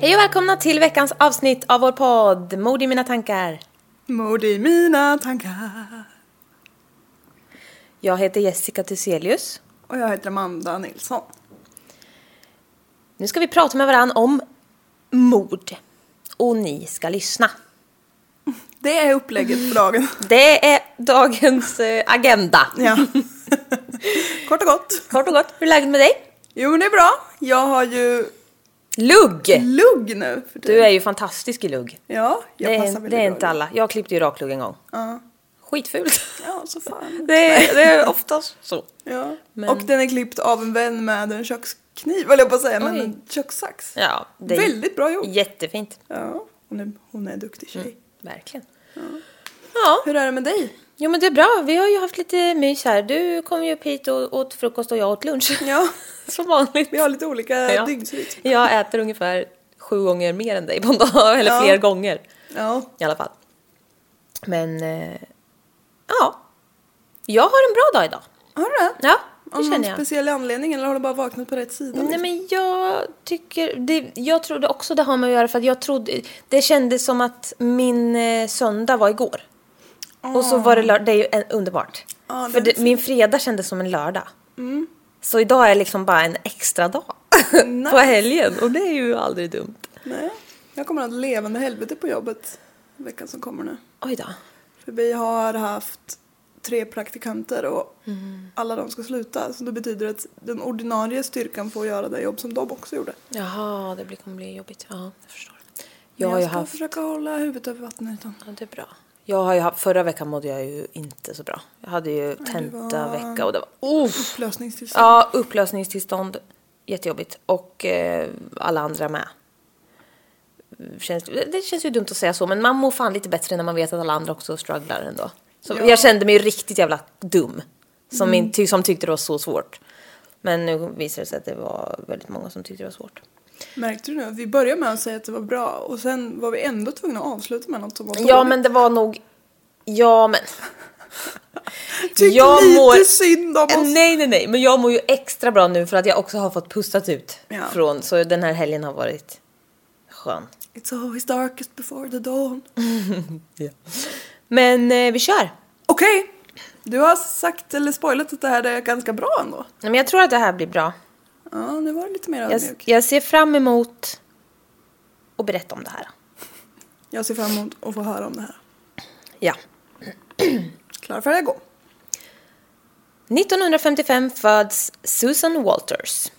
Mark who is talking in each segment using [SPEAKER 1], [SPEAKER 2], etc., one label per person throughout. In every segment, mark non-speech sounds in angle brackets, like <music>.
[SPEAKER 1] Hej och välkomna till veckans avsnitt av vår podd Mord i mina tankar.
[SPEAKER 2] Mord i mina tankar.
[SPEAKER 1] Jag heter Jessica Thyselius.
[SPEAKER 2] Och jag heter Amanda Nilsson.
[SPEAKER 1] Nu ska vi prata med varandra om mord. Och ni ska lyssna.
[SPEAKER 2] Det är upplägget för dagen.
[SPEAKER 1] <laughs> Det är dagens eh, agenda.
[SPEAKER 2] Ja. <laughs> Kort och gott.
[SPEAKER 1] Kort och gott, hur är läget med dig?
[SPEAKER 2] Jo men det är bra. Jag har ju
[SPEAKER 1] Lugg!
[SPEAKER 2] lugg nu. För
[SPEAKER 1] Du är ju fantastisk i lugg.
[SPEAKER 2] Ja, jag
[SPEAKER 1] det
[SPEAKER 2] passar
[SPEAKER 1] är,
[SPEAKER 2] väldigt
[SPEAKER 1] det är
[SPEAKER 2] bra.
[SPEAKER 1] inte alla. Jag klippte ju raklugg en gång.
[SPEAKER 2] Ja.
[SPEAKER 1] Skitfult.
[SPEAKER 2] Ja, så fan.
[SPEAKER 1] Det är, det är oftast så.
[SPEAKER 2] Ja.
[SPEAKER 1] Men-
[SPEAKER 2] Och den är klippt av en vän med en kökskniv, eller jag på att säga, men
[SPEAKER 1] Oj.
[SPEAKER 2] en kökssax.
[SPEAKER 1] Ja, det är
[SPEAKER 2] Väldigt bra jobb.
[SPEAKER 1] jättefint.
[SPEAKER 2] Ja, hon är, hon är en duktig tjej.
[SPEAKER 1] Mm. Verkligen. Ja.
[SPEAKER 2] Hur är det
[SPEAKER 1] <laughs>
[SPEAKER 2] med dig?
[SPEAKER 1] Jo men det är bra, vi har ju haft lite mys här. Du kom ju upp hit och åt frukost och jag åt lunch. <laughs>
[SPEAKER 2] Ja.
[SPEAKER 1] Som vanligt.
[SPEAKER 2] Vi har lite olika
[SPEAKER 1] Ja.
[SPEAKER 2] dygnsrytm.
[SPEAKER 1] Jag äter ungefär sju gånger mer än dig på en dag, eller
[SPEAKER 2] Ja.
[SPEAKER 1] fler gånger
[SPEAKER 2] Ja.
[SPEAKER 1] i alla fall. Men, eh, ja. Jag har en bra dag idag.
[SPEAKER 2] Har du det?
[SPEAKER 1] Ja, det
[SPEAKER 2] Om någon
[SPEAKER 1] känner jag.
[SPEAKER 2] speciell anledning eller har du bara vaknat på rätt sida?
[SPEAKER 1] Nej
[SPEAKER 2] liksom?
[SPEAKER 1] men jag tycker, det, jag trodde också det har med att göra för att jag trodde, det kändes som att min eh, söndag var igår. Och så var det lördag, det är ju en, underbart.
[SPEAKER 2] Ja, det
[SPEAKER 1] för
[SPEAKER 2] är
[SPEAKER 1] det,
[SPEAKER 2] fint.
[SPEAKER 1] min fredag kändes som en lördag. Mm. Så idag är liksom bara en extra dag <laughs> på helgen och det är ju aldrig dumt.
[SPEAKER 2] Nej, jag kommer att ha ett levande helvete på jobbet veckan som kommer nu.
[SPEAKER 1] Oj då.
[SPEAKER 2] För vi har haft tre praktikanter och
[SPEAKER 1] Mm.
[SPEAKER 2] alla de ska sluta. Så det betyder att den ordinarie styrkan får göra det jobb som de också gjorde.
[SPEAKER 1] Jaha, det blir, kommer bli jobbigt. Ja, jag förstår. Jag
[SPEAKER 2] Men
[SPEAKER 1] har ju
[SPEAKER 2] jag ska
[SPEAKER 1] haft,
[SPEAKER 2] försöka hålla huvudet över vattenytan.
[SPEAKER 1] ja, det är bra. Jag har ju haft, förra veckan mådde jag ju inte så bra. Jag hade ju tentavecka och det var
[SPEAKER 2] Uff. Upplösningstillstånd.
[SPEAKER 1] Ja, upplösningstillstånd. Jättejobbigt. Och eh, alla andra med. Känns, det känns ju dumt att säga så, men man mår fan lite bättre när man vet att alla andra också strugglar ändå. Så
[SPEAKER 2] Ja.
[SPEAKER 1] Jag kände mig ju riktigt jävla dum. Som, min, ty, som tyckte det var så svårt. Men nu visar det sig att det var väldigt många som tyckte det var svårt.
[SPEAKER 2] Märkte du nu att vi började med att säga att det var bra och sen var vi ändå tvungna att avsluta med något som var dåligt.
[SPEAKER 1] Ja, men det var nog... Ja, men...
[SPEAKER 2] Tyck lite synd om oss.
[SPEAKER 1] Nej, nej, nej. Men jag mår ju extra bra nu för att jag också har fått pustat ut
[SPEAKER 2] Ja.
[SPEAKER 1] från... Så den här helgen har varit skön.
[SPEAKER 2] It's always darkest before the dawn.
[SPEAKER 1] Men eh, vi kör!
[SPEAKER 2] Okej, du har sagt eller spoilat att det här är ganska bra ändå.
[SPEAKER 1] Nej, men jag tror att det här blir bra.
[SPEAKER 2] Ja, nu var det lite mer
[SPEAKER 1] Jag,
[SPEAKER 2] ödmjuk.
[SPEAKER 1] jag ser fram emot att berätta om det här.
[SPEAKER 2] Jag ser fram emot att få höra om det här.
[SPEAKER 1] Ja.
[SPEAKER 2] Klar för att gå.
[SPEAKER 1] 1955 föds Susan Walters.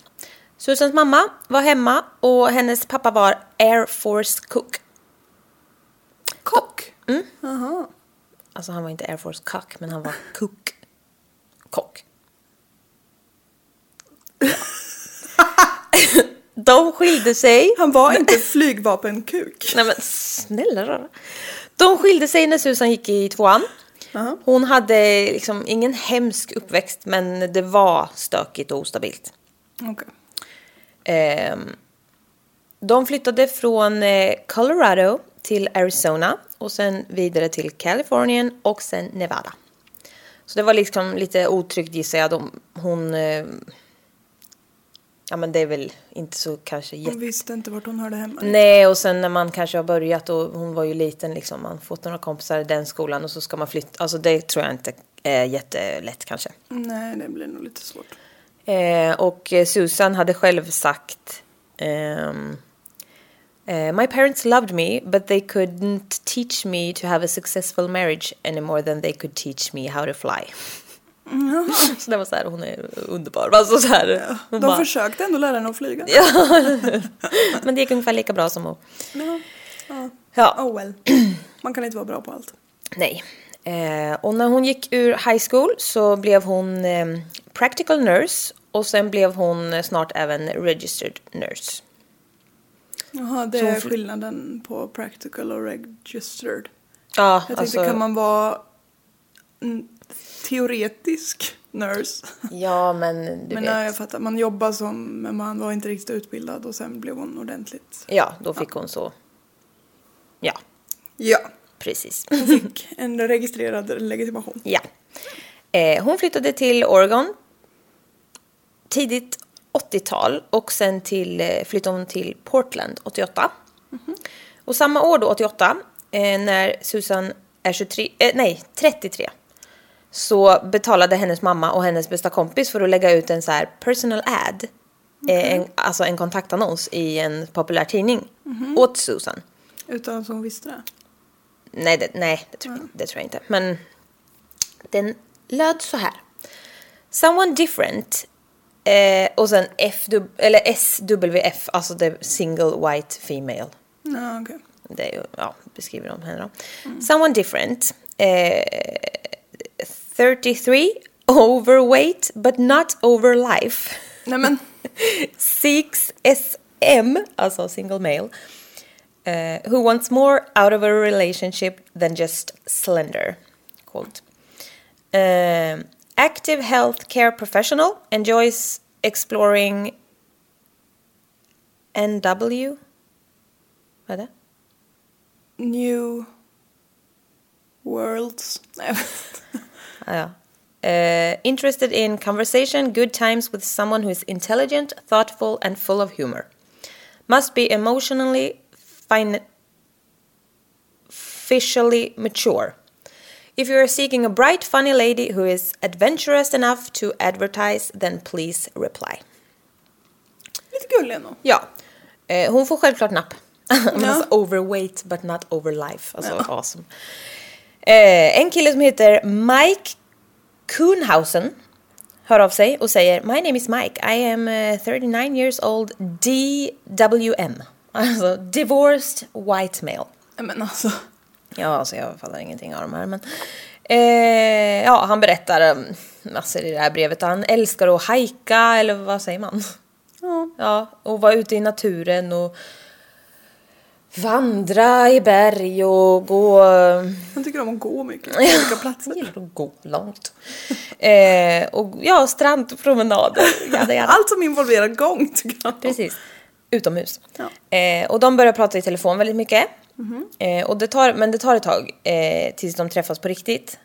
[SPEAKER 1] Susans mamma var hemma och hennes pappa var Air Force Cook.
[SPEAKER 2] Kock?
[SPEAKER 1] Mm.
[SPEAKER 2] Jaha.
[SPEAKER 1] Alltså han var inte Air Force Cook, men han var Cook.
[SPEAKER 2] <laughs>
[SPEAKER 1] Kock. Ja. De skilde sig.
[SPEAKER 2] Han var inte flygvapenkuk.
[SPEAKER 1] Nej men snälla rara. De skilde sig när Susan gick i tvåan.
[SPEAKER 2] Jaha.
[SPEAKER 1] Hon hade liksom ingen hemsk uppväxt men det var stökigt och ostabilt.
[SPEAKER 2] Okej.
[SPEAKER 1] Ehm, de flyttade från eh, Colorado till Arizona och sen vidare till Kalifornien och sen Nevada. Så det var liksom lite otryggt gissar jag. De, hon... Eh, ja men det är väl inte så kanske jätte...
[SPEAKER 2] Hon visste inte vart hon hörde hemma.
[SPEAKER 1] Nej, och sen när man kanske har börjat och hon var ju liten liksom, man har fått några kompisar i den skolan och så ska man flytta. Alltså det tror jag inte är jättelätt kanske.
[SPEAKER 2] Nej, det blir nog lite svårt.
[SPEAKER 1] Eh, och eh, Susan hade själv sagt ehm, eh, My parents loved me but they couldn't teach me to have a successful marriage any more than they could teach me how to fly. <laughs> så det var så här, hon är underbar. Alltså så här, hon
[SPEAKER 2] De
[SPEAKER 1] bara, <laughs>
[SPEAKER 2] försökte ändå lära henne att flyga.
[SPEAKER 1] men det gick ungefär lika bra som hon.
[SPEAKER 2] Ja. Ja.
[SPEAKER 1] Ja.
[SPEAKER 2] Oh well. Man kan inte vara bra på allt.
[SPEAKER 1] Nej. Eh, och när hon gick ur high school så blev hon eh, practical nurse och sen blev hon eh, snart även registered nurse.
[SPEAKER 2] Jaha, det
[SPEAKER 1] Så hon
[SPEAKER 2] är
[SPEAKER 1] fly-
[SPEAKER 2] skillnaden på practical och registered.
[SPEAKER 1] Ja,
[SPEAKER 2] Jag tänkte,
[SPEAKER 1] alltså,
[SPEAKER 2] kan man vara en teoretisk nurse?
[SPEAKER 1] ja men du vet.
[SPEAKER 2] Men nej, jag fattar, man jobbar som, men man var inte riktigt utbildad och sen blev hon ordentligt.
[SPEAKER 1] Ja, då fick hon så. Ja,
[SPEAKER 2] Ja,
[SPEAKER 1] precis.
[SPEAKER 2] fick en registrerad legitimation.
[SPEAKER 1] ja. Eh, hon flyttade till Oregon tidigt 80-tal och sen till, eh, flyttade hon till Portland 88. Och samma år då, 88, eh, när Susan är 23, eh, nej, 33 så betalade hennes mamma och hennes bästa kompis för att lägga ut en så här personal ad. Eh, en, alltså en kontaktannons i en populär tidning åt Susan.
[SPEAKER 2] Utan att hon visste det.
[SPEAKER 1] Nej, det, nej det, tror, det tror jag inte. Men den löd så här. Someone different. Eh, och sen FW, eller SWF, alltså the single white female.
[SPEAKER 2] Ja, okej.
[SPEAKER 1] Det är ju, ja, beskriver de henne då. Someone different. Eh, 33, overweight but not over life.
[SPEAKER 2] Nej men,
[SPEAKER 1] 6SM, alltså single male, eh, who wants more out of a relationship than just slender. Called. Um, active healthcare professional enjoys exploring NW. Vad är det?
[SPEAKER 2] new worlds. Nej, jag vet inte.
[SPEAKER 1] Ah, ja. Eh, interested in conversation, good times with someone who is intelligent, thoughtful and full of humor. Must be emotionally, fin- officially mature. If you are seeking a bright, funny lady who is adventurous enough to advertise, then please reply.
[SPEAKER 2] Lite gullig ändå.
[SPEAKER 1] Ja, eh, hon får självklart napp. <laughs> Men
[SPEAKER 2] Ja.
[SPEAKER 1] alltså, overweight but not overlife. Alltså awesome. Eh, en kille som heter Mike Kuhnhausen hör av sig och säger My name is Mike, I am eh, 39 years old DWM. Alltså divorced white male.
[SPEAKER 2] Nej men alltså.
[SPEAKER 1] Ja, alltså jag fattar ingenting av de här men... Eh, ja, han berättar eh, massor i det här brevet. Han älskar att hajka, eller vad säger man?
[SPEAKER 2] Ja.
[SPEAKER 1] Ja, och vara ute i naturen och vandra i berg och gå... eh,
[SPEAKER 2] Han tycker om att gå mycket. På olika
[SPEAKER 1] Det
[SPEAKER 2] platser.
[SPEAKER 1] gäller att gå långt. Eh, och ja, <laughs> strandpromenader. Jada, jada.
[SPEAKER 2] Allt som involverar gång tycker han om.
[SPEAKER 1] Precis. Utomhus.
[SPEAKER 2] Ja. Mhm.
[SPEAKER 1] Eh, och de börjar prata i telefon väldigt mycket. Eh, och det tar, men det tar ett tag eh, tills de träffas på riktigt.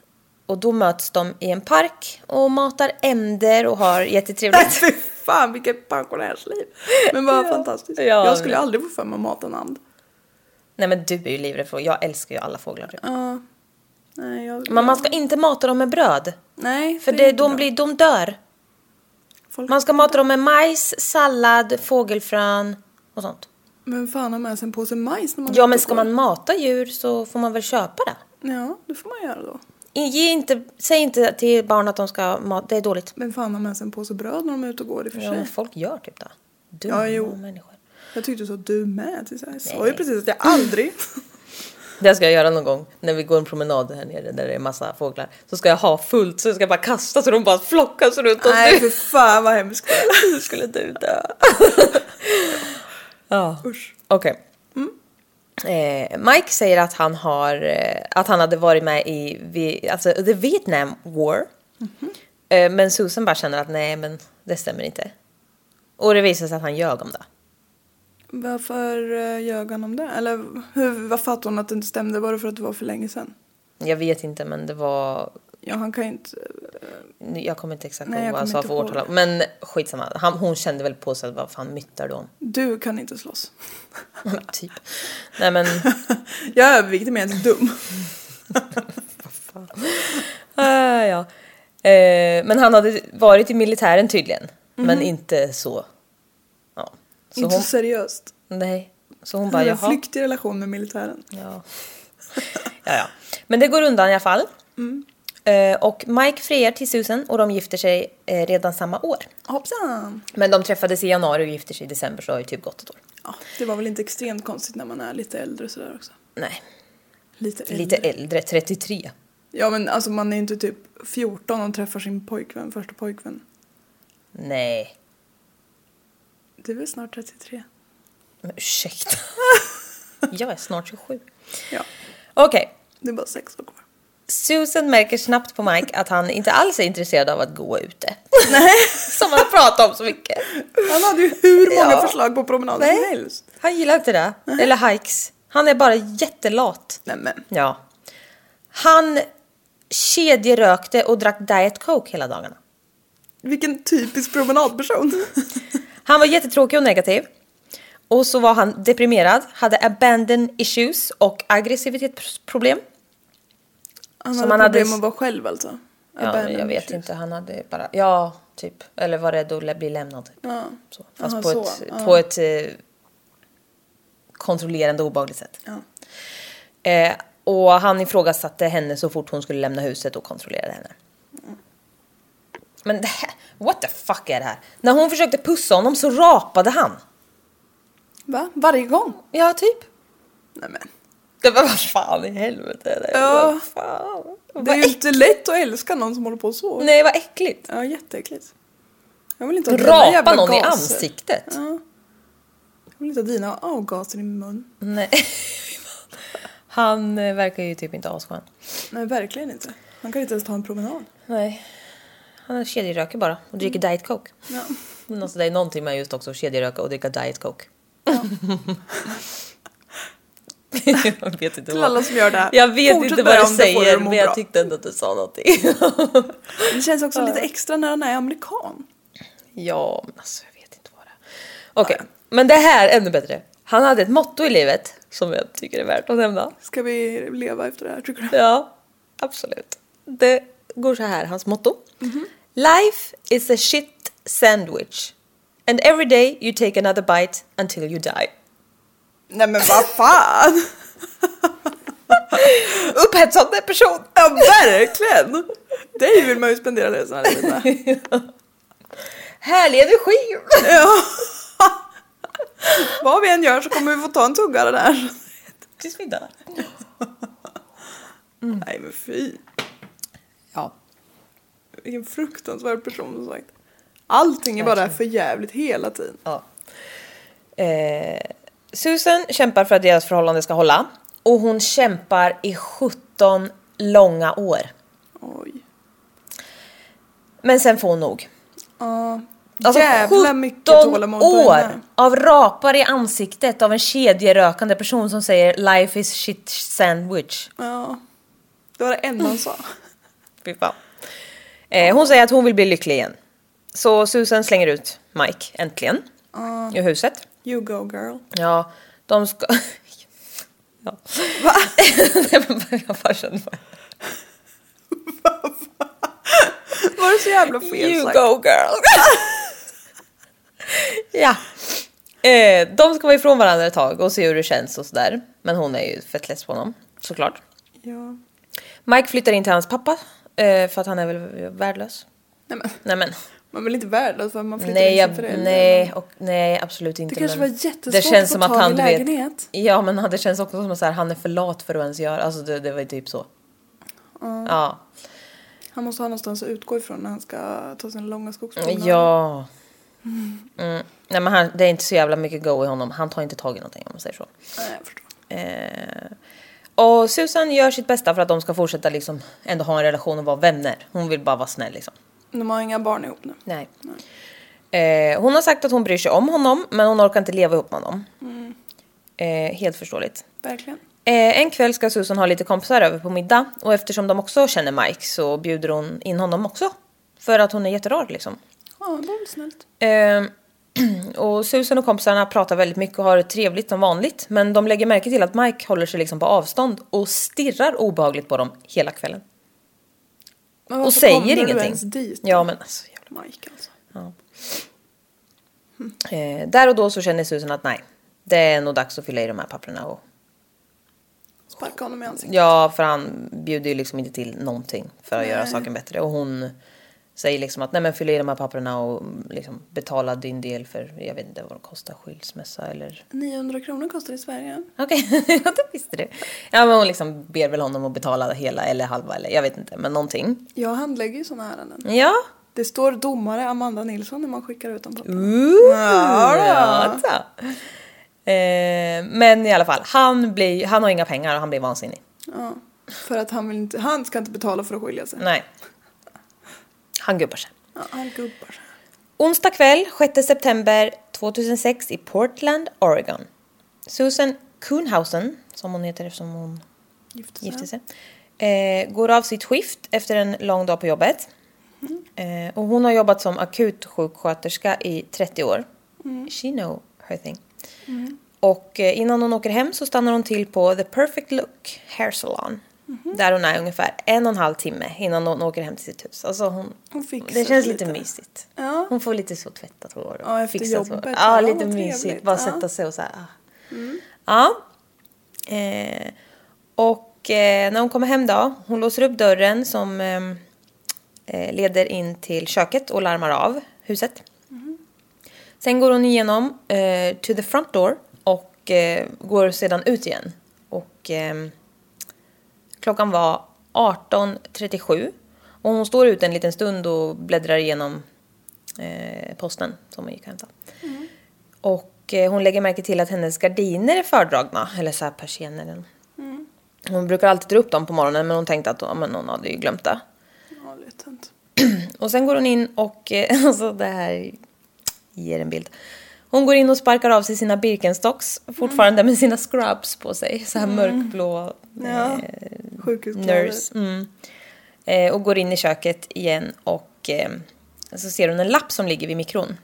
[SPEAKER 1] Och då möts de i en park och matar änder och har
[SPEAKER 2] Nej
[SPEAKER 1] jättetrevligt.
[SPEAKER 2] fy fan vilket pensionärsliv. Men vad
[SPEAKER 1] Ja.
[SPEAKER 2] fantastiskt.
[SPEAKER 1] Ja,
[SPEAKER 2] jag
[SPEAKER 1] men-
[SPEAKER 2] skulle aldrig få för mig att mata en and.
[SPEAKER 1] Nej men du är ju livrädd för jag älskar ju alla fåglar. typ.
[SPEAKER 2] Ja. Nej, jag...
[SPEAKER 1] Men man ska inte mata dem med bröd.
[SPEAKER 2] Nej,
[SPEAKER 1] För
[SPEAKER 2] är
[SPEAKER 1] det,
[SPEAKER 2] inte
[SPEAKER 1] de,
[SPEAKER 2] bra.
[SPEAKER 1] blir, de dör.
[SPEAKER 2] Folk-
[SPEAKER 1] Man ska mata dem med majs, sallad, fågelfrön och sånt.
[SPEAKER 2] Men fan har med sig en påse majs när man
[SPEAKER 1] Ja
[SPEAKER 2] är
[SPEAKER 1] men
[SPEAKER 2] ute
[SPEAKER 1] ska
[SPEAKER 2] och går?
[SPEAKER 1] man mata djur så får man väl köpa det.
[SPEAKER 2] Ja, det får man göra då.
[SPEAKER 1] Ge inte, säg inte till barn att de ska mata, det är dåligt.
[SPEAKER 2] Men fan har med sig en påse bröd när de är ute och går i och för
[SPEAKER 1] Ja,
[SPEAKER 2] sig.
[SPEAKER 1] men folk gör typ det. Dumma
[SPEAKER 2] Ja, jo.
[SPEAKER 1] människor.
[SPEAKER 2] Jag tyckte så att du med. till så här. Jag sa ju
[SPEAKER 1] Nej.
[SPEAKER 2] precis att jag aldrig...
[SPEAKER 1] <laughs> Det ska jag göra någon gång när vi går en promenad här nere där det är massa fåglar. Så ska jag ha fullt så jag ska bara kasta så de bara flockas runt oss.
[SPEAKER 2] Nej för fan vad hemskt.
[SPEAKER 1] <laughs> nu skulle du dö. ja,
[SPEAKER 2] Usch.
[SPEAKER 1] okej. Eh, Mike säger att han, har, eh, att han hade varit med i vi, alltså, the Vietnam War.
[SPEAKER 2] Mhm.
[SPEAKER 1] Eh, men Susan bara känner att nej, men det stämmer inte. Och det visar sig att han ljög om det.
[SPEAKER 2] Varför eh, ljög han om det? Eller hur, varför fattade hon att det inte stämde? Var det för att det var för länge sedan?
[SPEAKER 1] Jag vet inte, men det var...
[SPEAKER 2] Ja, han kan ju inte...
[SPEAKER 1] Jag kommer inte exakt
[SPEAKER 2] Nej,
[SPEAKER 1] ihåg
[SPEAKER 2] jag
[SPEAKER 1] vad han
[SPEAKER 2] kommer
[SPEAKER 1] sa
[SPEAKER 2] inte
[SPEAKER 1] för
[SPEAKER 2] ihåg
[SPEAKER 1] årtal. Men skitsamma, han, hon kände väl på sig att vad fan myttar du om? <laughs>
[SPEAKER 2] Du kan inte slåss.
[SPEAKER 1] typ. Nej
[SPEAKER 2] <laughs>
[SPEAKER 1] men,
[SPEAKER 2] Jag är överviktig men jag är inte dum.
[SPEAKER 1] ah, ja. Eh, men han hade varit i militären tydligen. Men inte så. Ja. <laughs> Så
[SPEAKER 2] Mhm. inte
[SPEAKER 1] hon,
[SPEAKER 2] så seriöst.
[SPEAKER 1] nej. Så hon
[SPEAKER 2] Han
[SPEAKER 1] bara,
[SPEAKER 2] har en
[SPEAKER 1] jaha.
[SPEAKER 2] flyktig relation med militären.
[SPEAKER 1] Ja. ja, ja. Men det går undan i alla fall.
[SPEAKER 2] Mm.
[SPEAKER 1] Eh, och Mike friar till Susan och de gifter sig eh, redan samma år.
[SPEAKER 2] Hoppsan!
[SPEAKER 1] Men de träffades i januari och gifter sig i december så har ju typ gått ett år.
[SPEAKER 2] Ja, det var väl inte extremt konstigt när man är lite äldre och sådär också.
[SPEAKER 1] Nej,
[SPEAKER 2] Lite äldre.
[SPEAKER 1] lite äldre, 33.
[SPEAKER 2] Ja men alltså man är ju inte typ 14 och träffar sin pojkvän, första pojkvän.
[SPEAKER 1] Nej,
[SPEAKER 2] Du är väl snart 33?
[SPEAKER 1] men <laughs> ursäkta. Jag är snart 27.
[SPEAKER 2] Ja,
[SPEAKER 1] Okej,
[SPEAKER 2] det är bara sex år kvar.
[SPEAKER 1] Susan märker snabbt på Mike att han inte alls är intresserad av att gå ute. <laughs> Som han har pratat om så mycket.
[SPEAKER 2] Han hade ju hur många
[SPEAKER 1] Ja.
[SPEAKER 2] förslag på promenader som
[SPEAKER 1] Nej,
[SPEAKER 2] helst.
[SPEAKER 1] han gillar inte det. Eller hikes. Han är bara jättelat.
[SPEAKER 2] Nej men,
[SPEAKER 1] Ja. Han kedjerökte och drack Diet Coke hela dagarna.
[SPEAKER 2] vilken typisk promenadperson.
[SPEAKER 1] Han var jättetråkig och negativ. Och så var han deprimerad, hade abandon issues och aggressivitetsproblem.
[SPEAKER 2] Han
[SPEAKER 1] Som
[SPEAKER 2] hade
[SPEAKER 1] han hade
[SPEAKER 2] problem
[SPEAKER 1] s-
[SPEAKER 2] att vara själv alltså.
[SPEAKER 1] Ja,
[SPEAKER 2] Abandon
[SPEAKER 1] jag vet
[SPEAKER 2] issues.
[SPEAKER 1] inte, han hade bara, ja, typ. Eller var rädd att lä- bli lämnad. typ.
[SPEAKER 2] Ja.
[SPEAKER 1] Så, fast
[SPEAKER 2] Aha,
[SPEAKER 1] på,
[SPEAKER 2] så,
[SPEAKER 1] ett,
[SPEAKER 2] ja.
[SPEAKER 1] på ett eh, kontrollerande och obehagligt sätt.
[SPEAKER 2] Ja.
[SPEAKER 1] Eh, och han ifrågasatte henne så fort hon skulle lämna huset och kontrollerade henne. Men det här, what the fuck är det här? När hon försökte pussa honom så rapade han.
[SPEAKER 2] Va? Varje gång?
[SPEAKER 1] Ja, typ.
[SPEAKER 2] Nej men.
[SPEAKER 1] Det var vad fan i helvete är det?
[SPEAKER 2] Ja.
[SPEAKER 1] Vad fan?
[SPEAKER 2] Det är ju inte lätt att älska någon som håller på så.
[SPEAKER 1] Nej, vad äckligt.
[SPEAKER 2] Ja, jätteäckligt. Jag vill inte ha dina
[SPEAKER 1] Rapa
[SPEAKER 2] jävla
[SPEAKER 1] någon i
[SPEAKER 2] gaser.
[SPEAKER 1] ansiktet.
[SPEAKER 2] Ja. Jag vill inte ha dina avgaser i min mun.
[SPEAKER 1] Nej. <laughs> Han eh, verkar ju typ inte asskön.
[SPEAKER 2] Nej, verkligen inte. Han kan ju inte ens ta en promenad.
[SPEAKER 1] Nej. Han kedjeröker bara och dricker
[SPEAKER 2] Mm.
[SPEAKER 1] Diet Coke.
[SPEAKER 2] Ja.
[SPEAKER 1] Men alltså, det är någonting med just också att kedjeröka och dricka Diet Coke. <laughs> jag vet inte
[SPEAKER 2] Till alla som gör det här.
[SPEAKER 1] Jag vet
[SPEAKER 2] Fortsätt
[SPEAKER 1] inte
[SPEAKER 2] med
[SPEAKER 1] vad du
[SPEAKER 2] dem, det
[SPEAKER 1] säger
[SPEAKER 2] får dem att
[SPEAKER 1] men
[SPEAKER 2] må
[SPEAKER 1] jag
[SPEAKER 2] bra.
[SPEAKER 1] tyckte ändå att du sa någonting. <laughs>
[SPEAKER 2] Det känns också lite extra när han är amerikan.
[SPEAKER 1] ja, men alltså jag vet inte vad det är. Okej, men det här är ännu bättre. Han hade ett motto i livet som jag tycker är värt att nämna.
[SPEAKER 2] Ska vi leva efter det här tycker du?
[SPEAKER 1] Ja, absolut. Det går så här, hans motto. Life is a shit sandwich. And every day you take another bite until you die.
[SPEAKER 2] Nej men vad fan!
[SPEAKER 1] Upphetsande person!
[SPEAKER 2] Ja verkligen! Dig vill man ju spendera resan av livet med.
[SPEAKER 1] Härlig energi!
[SPEAKER 2] Ja. Vad vi än gör så kommer vi få ta en tugga av den här.
[SPEAKER 1] Tills vi dör.
[SPEAKER 2] Mm. Nej men fy.
[SPEAKER 1] Ja.
[SPEAKER 2] Vilken fruktansvärd person som sagt. Allting är bara för jävligt hela tiden.
[SPEAKER 1] ja. Eh, Susan kämpar för att deras förhållande ska hålla. Och hon kämpar i 17 långa år.
[SPEAKER 2] Oj.
[SPEAKER 1] Men sen får hon nog.
[SPEAKER 2] Ja.
[SPEAKER 1] Alltså
[SPEAKER 2] Jävla
[SPEAKER 1] 17
[SPEAKER 2] mycket tålamod på den
[SPEAKER 1] år
[SPEAKER 2] här.
[SPEAKER 1] av rapar i ansiktet av en kedjerökande person som säger life is shit sandwich.
[SPEAKER 2] Ja. Det var det enda han sa.
[SPEAKER 1] Fy fan. Eh, hon säger att hon vill bli lycklig igen. Så Susan slänger ut Mike, äntligen, ur huset.
[SPEAKER 2] You go girl.
[SPEAKER 1] Ja, de ska... <laughs> ja.
[SPEAKER 2] Va?
[SPEAKER 1] Nej, men <laughs> jag bara känner bara...
[SPEAKER 2] Var det så jävla fel
[SPEAKER 1] You
[SPEAKER 2] sagt?
[SPEAKER 1] go girl! <laughs> ja. Eh, de ska vara ifrån varandra ett tag och se hur det känns och sådär. Men hon är ju fett less på honom, såklart.
[SPEAKER 2] Ja.
[SPEAKER 1] Mike flyttar in till hans pappa eh, för att han är väl värdelös.
[SPEAKER 2] Nej men.
[SPEAKER 1] Nej men.
[SPEAKER 2] Man är väl inte värdelös för att man flyttar
[SPEAKER 1] Nej,
[SPEAKER 2] in som
[SPEAKER 1] jag,
[SPEAKER 2] förälder?
[SPEAKER 1] nej, och, nej absolut inte.
[SPEAKER 2] Det kanske
[SPEAKER 1] men
[SPEAKER 2] var jättesvårt
[SPEAKER 1] det känns
[SPEAKER 2] att få
[SPEAKER 1] som att
[SPEAKER 2] tag i
[SPEAKER 1] han, du
[SPEAKER 2] lägenhet.
[SPEAKER 1] Vet, ja men det känns också som att så här, han är för lat för att ens göra. Alltså det, det var ju typ så. Ja.
[SPEAKER 2] Han måste ha någonstans att utgå ifrån när han ska ta sin långa skogspromenad.
[SPEAKER 1] Ja. Mm. Nej men han, det är inte så jävla mycket go i honom. Han tar inte tag i någonting om man säger så.
[SPEAKER 2] Nej, jag förstår.
[SPEAKER 1] Eh, Eh, och Susan gör sitt bästa för att de ska fortsätta liksom ändå ha en relation och vara vänner. Hon vill bara vara snäll liksom.
[SPEAKER 2] De har inga barn ihop nu.
[SPEAKER 1] Nej. Eh, hon har sagt att hon bryr sig om honom men hon orkar inte leva ihop med honom. Eh, helt förståeligt.
[SPEAKER 2] Verkligen.
[SPEAKER 1] Eh, en kväll ska Susan ha lite kompisar över på middag och eftersom de också känner Mike så bjuder hon in honom också. För att hon är jätterar liksom.
[SPEAKER 2] Ja, det var väl snällt.
[SPEAKER 1] Eh, <clears throat> och Susan och kompisarna pratar väldigt mycket och har det trevligt som vanligt. Men de lägger märke till att Mike håller sig liksom på avstånd och stirrar obehagligt på dem hela kvällen.
[SPEAKER 2] Men
[SPEAKER 1] Och
[SPEAKER 2] varför
[SPEAKER 1] säger
[SPEAKER 2] kommer
[SPEAKER 1] ingenting.
[SPEAKER 2] Du ens dit?
[SPEAKER 1] Ja men alltså. jävla-
[SPEAKER 2] Mike alltså.
[SPEAKER 1] Eh, där och då så känner Susan att nej, det är nog dags att fylla i de här papperna. Och,
[SPEAKER 2] Sparka honom i ansiktet.
[SPEAKER 1] ja, för han bjuder ju liksom inte till någonting för att göra
[SPEAKER 2] Nej.
[SPEAKER 1] saken bättre. Och hon säger liksom att nej men fyll i de här papperna och mm, liksom betala din del för jag vet inte vad det kostar skilsmässa eller
[SPEAKER 2] 900 kronor kostar det i Sverige.
[SPEAKER 1] Okej, <laughs> ja, det visste du. Ja, men hon liksom ber väl honom att betala hela eller halva eller jag vet inte, men någonting.
[SPEAKER 2] Jag handlägger ju sådana ärenden.
[SPEAKER 1] Ja.
[SPEAKER 2] Det står domare Amanda Nilsson när man skickar ut dem. På.
[SPEAKER 1] Ooh, ja då. Eh, men i alla fall, han, blir, han har inga pengar och han blir vansinnig.
[SPEAKER 2] Ja. För att han, vill inte, han ska inte betala för att skilja sig.
[SPEAKER 1] Nej. Han gubbar sig.
[SPEAKER 2] Ja, han gubbar sig.
[SPEAKER 1] Onsdag kväll, 6 september 2006 i Portland, Oregon. Susan Kuhnhausen, som hon heter eftersom hon
[SPEAKER 2] Gifte sig.
[SPEAKER 1] gifte sig. Eh, går av sitt skift efter en lång dag på jobbet. Eh, och hon har jobbat som akutsjuksköterska i 30 år.
[SPEAKER 2] Mm.
[SPEAKER 1] She know her thing. Och eh, innan hon åker hem så stannar hon till på The Perfect Look Hair Salon.
[SPEAKER 2] Mm-hmm.
[SPEAKER 1] Där hon är ungefär en och en halv timme innan hon åker hem till sitt hus. Alltså hon,
[SPEAKER 2] Hon fixar
[SPEAKER 1] det känns
[SPEAKER 2] sig
[SPEAKER 1] lite
[SPEAKER 2] lite.
[SPEAKER 1] mysigt.
[SPEAKER 2] Ja.
[SPEAKER 1] Hon får lite så tvättat hår och
[SPEAKER 2] Ja, efter
[SPEAKER 1] fixat hår.
[SPEAKER 2] jobbet.
[SPEAKER 1] Ja,
[SPEAKER 2] Ja,
[SPEAKER 1] lite
[SPEAKER 2] vad trevligt.
[SPEAKER 1] mysigt. Bara
[SPEAKER 2] Ja. Mm.
[SPEAKER 1] sätta sig och så här. ah. Ja. Eh, och eh, när hon kommer hem då, hon låser upp dörren som ehm, eh, leder in till köket och larmar av huset.
[SPEAKER 2] Mm.
[SPEAKER 1] Sen går hon igenom eh, to the front door och eh, går sedan ut igen. Och ehm, klockan var 18.37 och hon står ute en liten stund och bläddrar igenom eh, posten som hon gick och hämtade. Och eh, hon lägger märke till att hennes gardiner är fördragna, eller så här persienner. eller nåt. Hon brukar alltid dra upp dem på morgonen men hon tänkte att ja, men hon hade ju glömt det.
[SPEAKER 2] Ja, lite inte.
[SPEAKER 1] Och sen går hon in och, eh, <laughs> alltså det här ger en bild. Hon går in och sparkar av sig sina Birkenstocks, fortfarande med sina scrubs på sig. Så här mörkblå eh,
[SPEAKER 2] Ja. Sjukhuskläder.
[SPEAKER 1] nurse. Mm. Eh, och går in i köket igen och eh, så ser hon en lapp som ligger vid mikron.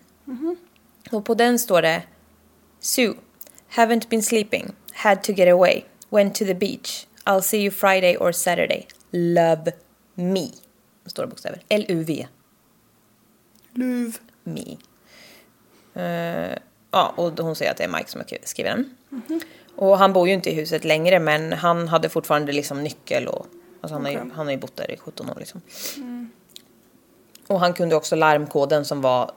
[SPEAKER 1] Och på den står det Sue, haven't been sleeping, had to get away, went to the beach, I'll see you Friday or Saturday, love me. Står det bokstäver. L-U-V.
[SPEAKER 2] Luv.
[SPEAKER 1] Me. Eh, ja, och hon säger att det är Mike som har skrivit den. Och han bor ju inte i huset längre men han hade fortfarande liksom nyckel och alltså han, har ju, han har ju bott där i 17 år liksom. Och han kunde också larmkoden som var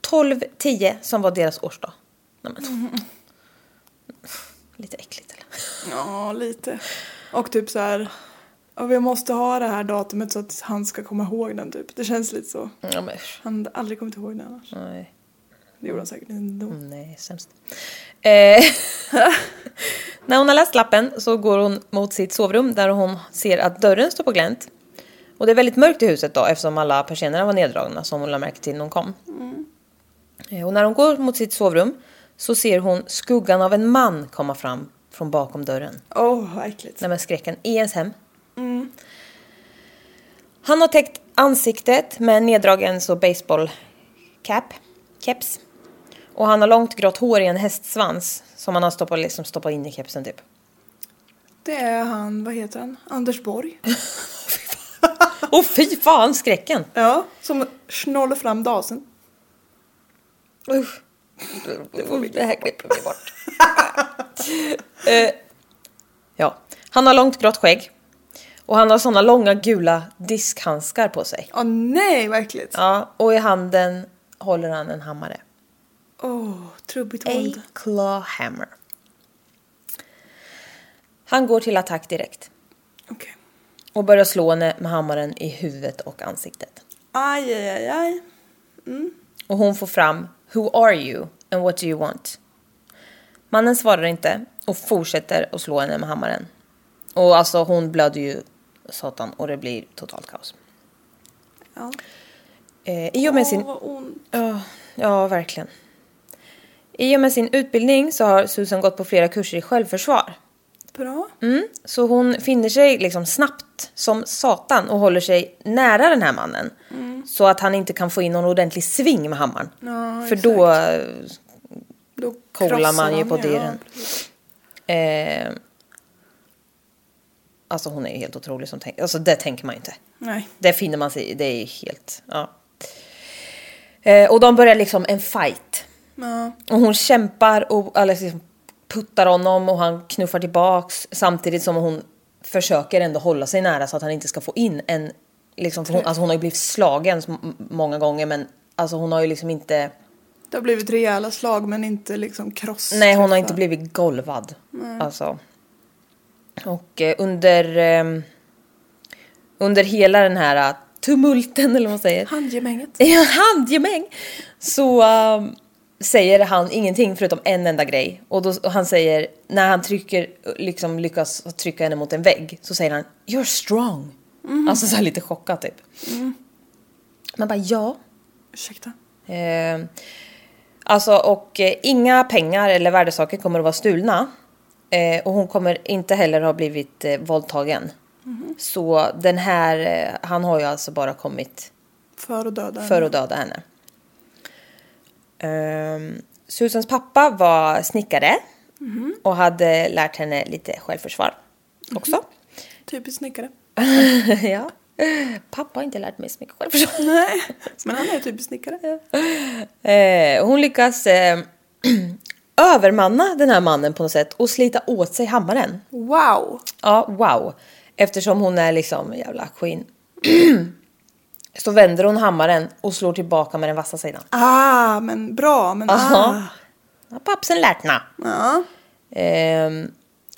[SPEAKER 1] 1210 som var deras årsdag. Nej, men. <laughs> Lite äckligt eller?
[SPEAKER 2] Ja, lite. Och typ så här. Ja, vi måste ha det här datumet så att han ska komma ihåg den typ. Det känns lite så.
[SPEAKER 1] Ja, men, usch.
[SPEAKER 2] Han hade aldrig kommit ihåg den annars.
[SPEAKER 1] nej.
[SPEAKER 2] Det gjorde han säkert ändå.
[SPEAKER 1] Nej, sämst. Eh, <laughs> när hon har läst lappen så går hon mot sitt sovrum där hon ser att dörren står på glänt. Och det är väldigt mörkt i huset då eftersom alla persiennerna var neddragna som hon lade märke till när hon kom. Eh, Och när hon går mot sitt sovrum så ser hon skuggan av en man komma fram från bakom dörren.
[SPEAKER 2] Åh, vad äckligt.
[SPEAKER 1] Nej men skräcken i ens hem. Han har täckt ansiktet med en neddragen så baseball cap, keps. Och han har långt grått hår i en hästsvans som han har stoppat, liksom stoppat in i kepsen typ.
[SPEAKER 2] Det är han, vad heter han?
[SPEAKER 1] <laughs>
[SPEAKER 2] Anders Borg.
[SPEAKER 1] Åh fy fan skräcken!
[SPEAKER 2] Ja, som snålar fram dasen.
[SPEAKER 1] Usch. Det här klipper vi bort. <laughs> Eh, ja, han har långt grått skägg. Och han har såna långa gula diskhandskar på sig.
[SPEAKER 2] Åh nej, vad äckligt. Åh,
[SPEAKER 1] Ja, och i handen håller han en hammare.
[SPEAKER 2] trubbigt
[SPEAKER 1] A
[SPEAKER 2] våld.
[SPEAKER 1] claw hammer. Han går till attack direkt
[SPEAKER 2] Okej.
[SPEAKER 1] och börjar slå henne med hammaren i huvudet och ansiktet.
[SPEAKER 2] Aj, aj, aj, aj.
[SPEAKER 1] Och hon får fram “Who are you and what do you want?” Mannen svarar inte och fortsätter att slå henne med hammaren. Och alltså hon blöder ju satan och det blir totalt kaos.
[SPEAKER 2] Ja.
[SPEAKER 1] Eh, I och med sin
[SPEAKER 2] Åh, vad ont.
[SPEAKER 1] Ja, ja, verkligen. I och med sin utbildning så har Susan gått på flera kurser i självförsvar.
[SPEAKER 2] Bra.
[SPEAKER 1] Mm. Så hon finner sig liksom snabbt som satan och håller sig nära den här mannen. Så att han inte kan få in någon ordentlig sving med hammaren.
[SPEAKER 2] Ja,
[SPEAKER 1] För då...
[SPEAKER 2] Då
[SPEAKER 1] kollar
[SPEAKER 2] krossar
[SPEAKER 1] man ju
[SPEAKER 2] han
[SPEAKER 1] på
[SPEAKER 2] ja,
[SPEAKER 1] dyren.
[SPEAKER 2] precis.
[SPEAKER 1] Eh, alltså hon är ju helt otrolig som tänker... Alltså det tänker man ju inte.
[SPEAKER 2] Nej.
[SPEAKER 1] Det finner man sig i. Det är helt... Ja. Eh, och de börjar liksom en fight.
[SPEAKER 2] Ja.
[SPEAKER 1] Och hon kämpar och eller liksom puttar honom och han knuffar tillbaks samtidigt som hon försöker ändå hålla sig nära så att han inte ska få in en... Liksom, för hon, alltså hon har ju blivit slagen så m- många gånger men alltså hon har ju liksom inte...
[SPEAKER 2] Det har blivit rejäla slag men inte liksom kross.
[SPEAKER 1] Nej hon har inte blivit golvad. Alltså. Och eh, under... ehm, under hela den här eh, tumulten eller vad man säger.
[SPEAKER 2] Handgemänget.
[SPEAKER 1] i en handgemäng så ehm, säger han ingenting förutom en enda grej. Och, då, och han säger, när han trycker, liksom lyckas trycka henne mot en vägg så säger han “You're strong”. Alltså så här lite chockad typ. Man bara ja.
[SPEAKER 2] Ursäkta.
[SPEAKER 1] Eh, alltså och eh, inga pengar eller värdesaker kommer att vara stulna. Eh, och hon kommer inte heller ha blivit eh, våldtagen. Så den här, eh, han har ju alltså bara kommit
[SPEAKER 2] För att döda
[SPEAKER 1] för
[SPEAKER 2] henne.
[SPEAKER 1] att döda henne. Ehm, Susans pappa var snickare och hade lärt henne lite självförsvar också. <laughs>
[SPEAKER 2] Typiskt snickare.
[SPEAKER 1] ja. Pappa har inte lärt mig så mycket självförsvar.
[SPEAKER 2] Mhm. Nej. Men han är typiskt snickare.
[SPEAKER 1] Eh, hon lyckas eh, <clears throat> övermanna den här mannen på något sätt och slita åt sig hammaren.
[SPEAKER 2] Wow.
[SPEAKER 1] Ja, wow. Eftersom hon är liksom en jävla queen. <clears throat> Så vänder hon hammaren och slår tillbaka med den vassa sidan.
[SPEAKER 2] Ah, men bra. Men ah.
[SPEAKER 1] Ja. Ah. Pappsen lärt na.
[SPEAKER 2] Ja.
[SPEAKER 1] Ehm,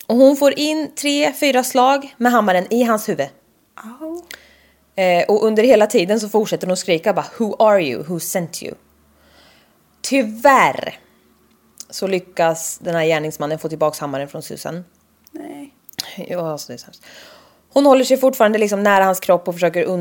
[SPEAKER 1] och hon får in tre, fyra slag med hammaren i hans huvud.
[SPEAKER 2] Au.
[SPEAKER 1] Eh, och under hela tiden så fortsätter hon skrika bara “Who are you? Who sent you?” Tyvärr så lyckas den här gärningsmannen få tillbaks hammaren från Susan.
[SPEAKER 2] Nej.
[SPEAKER 1] Ja, alltså det är så hemskt. Hon håller sig fortfarande liksom nära hans kropp och försöker und-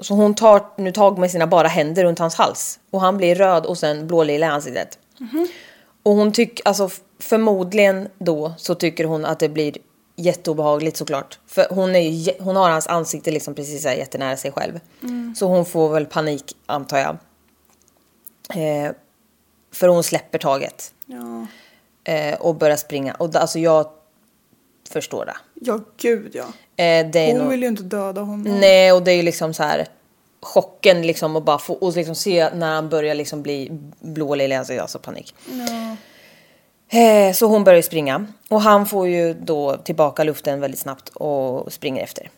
[SPEAKER 1] så hon tar nu tag med sina bara händer runt hans hals. Och han blir röd och sen blålila i ansiktet.
[SPEAKER 2] Mhm.
[SPEAKER 1] Och hon tycker, alltså f- förmodligen då så tycker hon att det blir jätteobehagligt såklart. För hon, är ju, jä- hon har hans ansikte liksom precis så här jättenära sig själv.
[SPEAKER 2] Mm.
[SPEAKER 1] Så hon får väl panik antar jag. Eh, för hon släpper taget.
[SPEAKER 2] Ja.
[SPEAKER 1] Eh, och börjar springa. Och d- alltså jag förstår det.
[SPEAKER 2] Ja, gud ja.
[SPEAKER 1] Eh, det är nog-
[SPEAKER 2] Hon vill ju inte döda honom.
[SPEAKER 1] Nej, och det är ju liksom så här chocken liksom och bara få och liksom se när han börjar liksom bli blå och lila, alltså, alltså panik. Eh, Så hon börjar ju springa och han får ju då tillbaka luften väldigt snabbt och springer efter.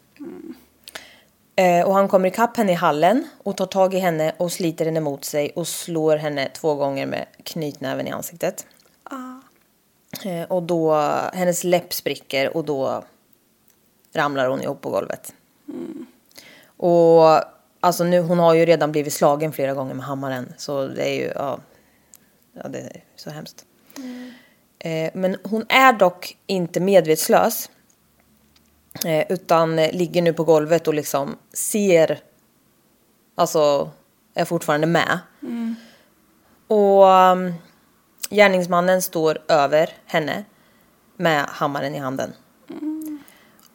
[SPEAKER 1] Eh, Och han kommer ikapp henne i hallen och tar tag i henne och sliter henne mot sig och slår henne två gånger med knytnäven i ansiktet. Eh, Och då, hennes läpp spricker och då ramlar hon ihop på golvet. Och alltså nu, hon har ju redan blivit slagen flera gånger med hammaren. Så det är ju, ja, ja det är så hemskt. Eh, men hon är dock inte medvetslös. Eh, utan eh, ligger nu på golvet och liksom ser alltså är fortfarande med. Och um, gärningsmannen står över henne med hammaren i handen.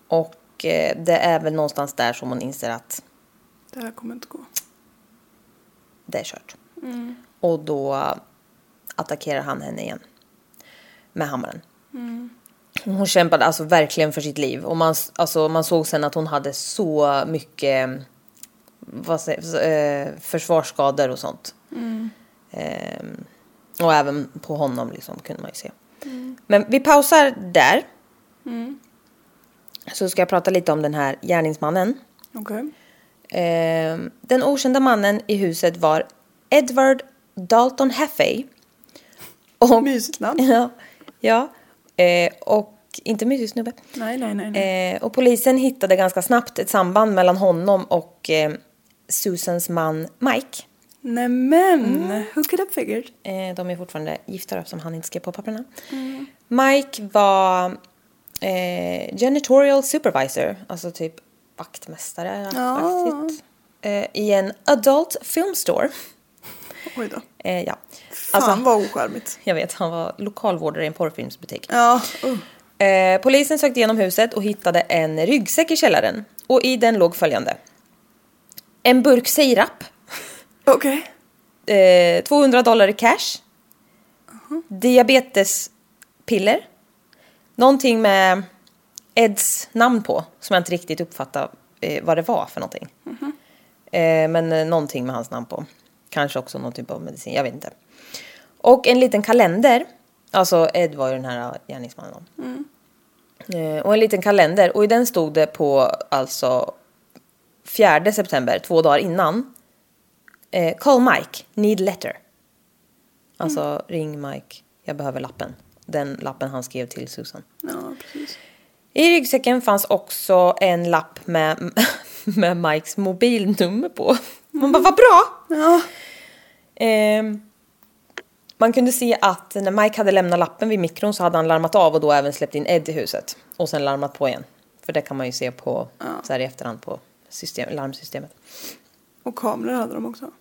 [SPEAKER 1] Och eh, det är väl någonstans där som hon inser att
[SPEAKER 2] Det här kommer inte gå.
[SPEAKER 1] det är kört. Och då attackerar han henne igen med hammaren. Hon kämpade alltså verkligen för sitt liv och man, alltså, man såg sen att hon hade så mycket vad, sä- eh, försvarsskador och sånt. Ehm, och även på honom liksom, kunde man ju se. Men vi pausar där. Så ska jag prata lite om den här gärningsmannen.
[SPEAKER 2] Okej.
[SPEAKER 1] Eh, den okända mannen i huset var Edward Dalton Haffey. Och,
[SPEAKER 2] Mysigt namn.
[SPEAKER 1] <laughs> ja, ja eh, och inte mysig snubbe.
[SPEAKER 2] Nej, nej, nej. nej.
[SPEAKER 1] Eh, och polisen hittade ganska snabbt ett samband mellan honom och eh, Susans man Mike.
[SPEAKER 2] Nej men,
[SPEAKER 1] Mm.
[SPEAKER 2] hook it up figured.
[SPEAKER 1] Eh, de är fortfarande gifta då, som han inte skrev på papperna.
[SPEAKER 2] Mm.
[SPEAKER 1] Mike var eh, janitorial supervisor, alltså typ vaktmästare. aktigt, Eh, I en adult film store.
[SPEAKER 2] Oj då.
[SPEAKER 1] Eh, ja.
[SPEAKER 2] Fan vad ocharmigt.
[SPEAKER 1] Jag vet, han var lokalvårdare i en porrfilmsbutik.
[SPEAKER 2] Ja, uh.
[SPEAKER 1] Eh, polisen sökte igenom huset och hittade en ryggsäck i källaren. Och i den låg följande. En burk sirap.
[SPEAKER 2] okej.
[SPEAKER 1] eh, 200 dollar i cash. Diabetespiller. Någonting med Eds namn på som jag inte riktigt uppfattade eh, vad det var för någonting. Eh, men eh, någonting med hans namn på. Kanske också någon typ av medicin, jag vet inte. Och en liten kalender. Alltså Ed var ju den här gärningsmannen. då. Eh, och en liten kalender och i den stod det på alltså 4 september, två dagar innan. Eh, call Mike, need letter. Alltså ring Mike, jag behöver lappen. Den lappen han skrev till Susan.
[SPEAKER 2] Ja, precis.
[SPEAKER 1] I ryggsäcken fanns också en lapp med, <laughs> med Mikes mobilnummer på. Man bara, vad bra!
[SPEAKER 2] Ja,
[SPEAKER 1] Ehm, man kunde se att när Mike hade lämnat lappen vid mikron så hade han larmat av och då även släppt in Ed i huset. Och sen larmat på igen. För det kan man ju se på, så här i efterhand på system, larmsystemet.
[SPEAKER 2] och kameror hade de också.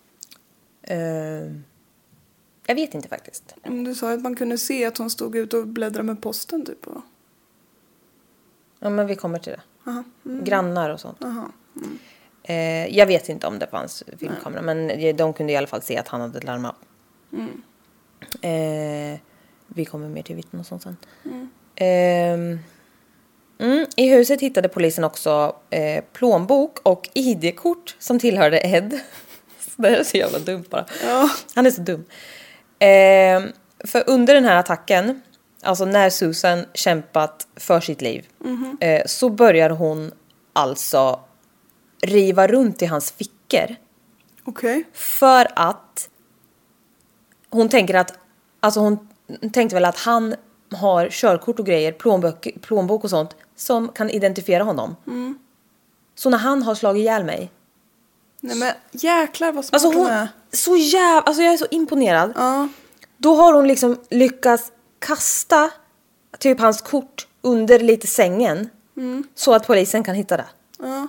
[SPEAKER 1] Ehm, jag vet inte faktiskt.
[SPEAKER 2] Men Mm, Du sa ju att man kunde se att hon stod ute och bläddrade med posten typ. Och...
[SPEAKER 1] Ja, men vi kommer till det.
[SPEAKER 2] Aha. mm.
[SPEAKER 1] Grannar och sånt.
[SPEAKER 2] Aha. mm.
[SPEAKER 1] Eh, jag vet inte om det fanns filmkamera, men eh, de kunde i alla fall se att han hade larmat.
[SPEAKER 2] Mm.
[SPEAKER 1] Eh, vi kommer mer till vittnen och sånt sen.
[SPEAKER 2] Mm.
[SPEAKER 1] Ehm, mm, I huset hittade polisen också eh, plånbok och ID-kort som tillhörde Ed. <laughs> det här är så jävla dumt bara. Han är så dum. Ehm, för under den här attacken, alltså när Susan kämpat för sitt liv, eh, så börjar hon alltså riva runt i hans fickor.
[SPEAKER 2] Okej.
[SPEAKER 1] För att hon tänker att, alltså hon tänkte väl att han har körkort och grejer, plånbok, plånbok och sånt som kan identifiera honom.
[SPEAKER 2] Mm.
[SPEAKER 1] Så när han har slagit ihjäl mig,
[SPEAKER 2] Nej men jäklar vad smart
[SPEAKER 1] alltså
[SPEAKER 2] hon
[SPEAKER 1] hon,
[SPEAKER 2] är.
[SPEAKER 1] så jävla, alltså jag är så imponerad.
[SPEAKER 2] Ja.
[SPEAKER 1] Då har hon liksom lyckats kasta typ hans kort under lite sängen
[SPEAKER 2] Mm.
[SPEAKER 1] så att polisen kan hitta det.
[SPEAKER 2] ja.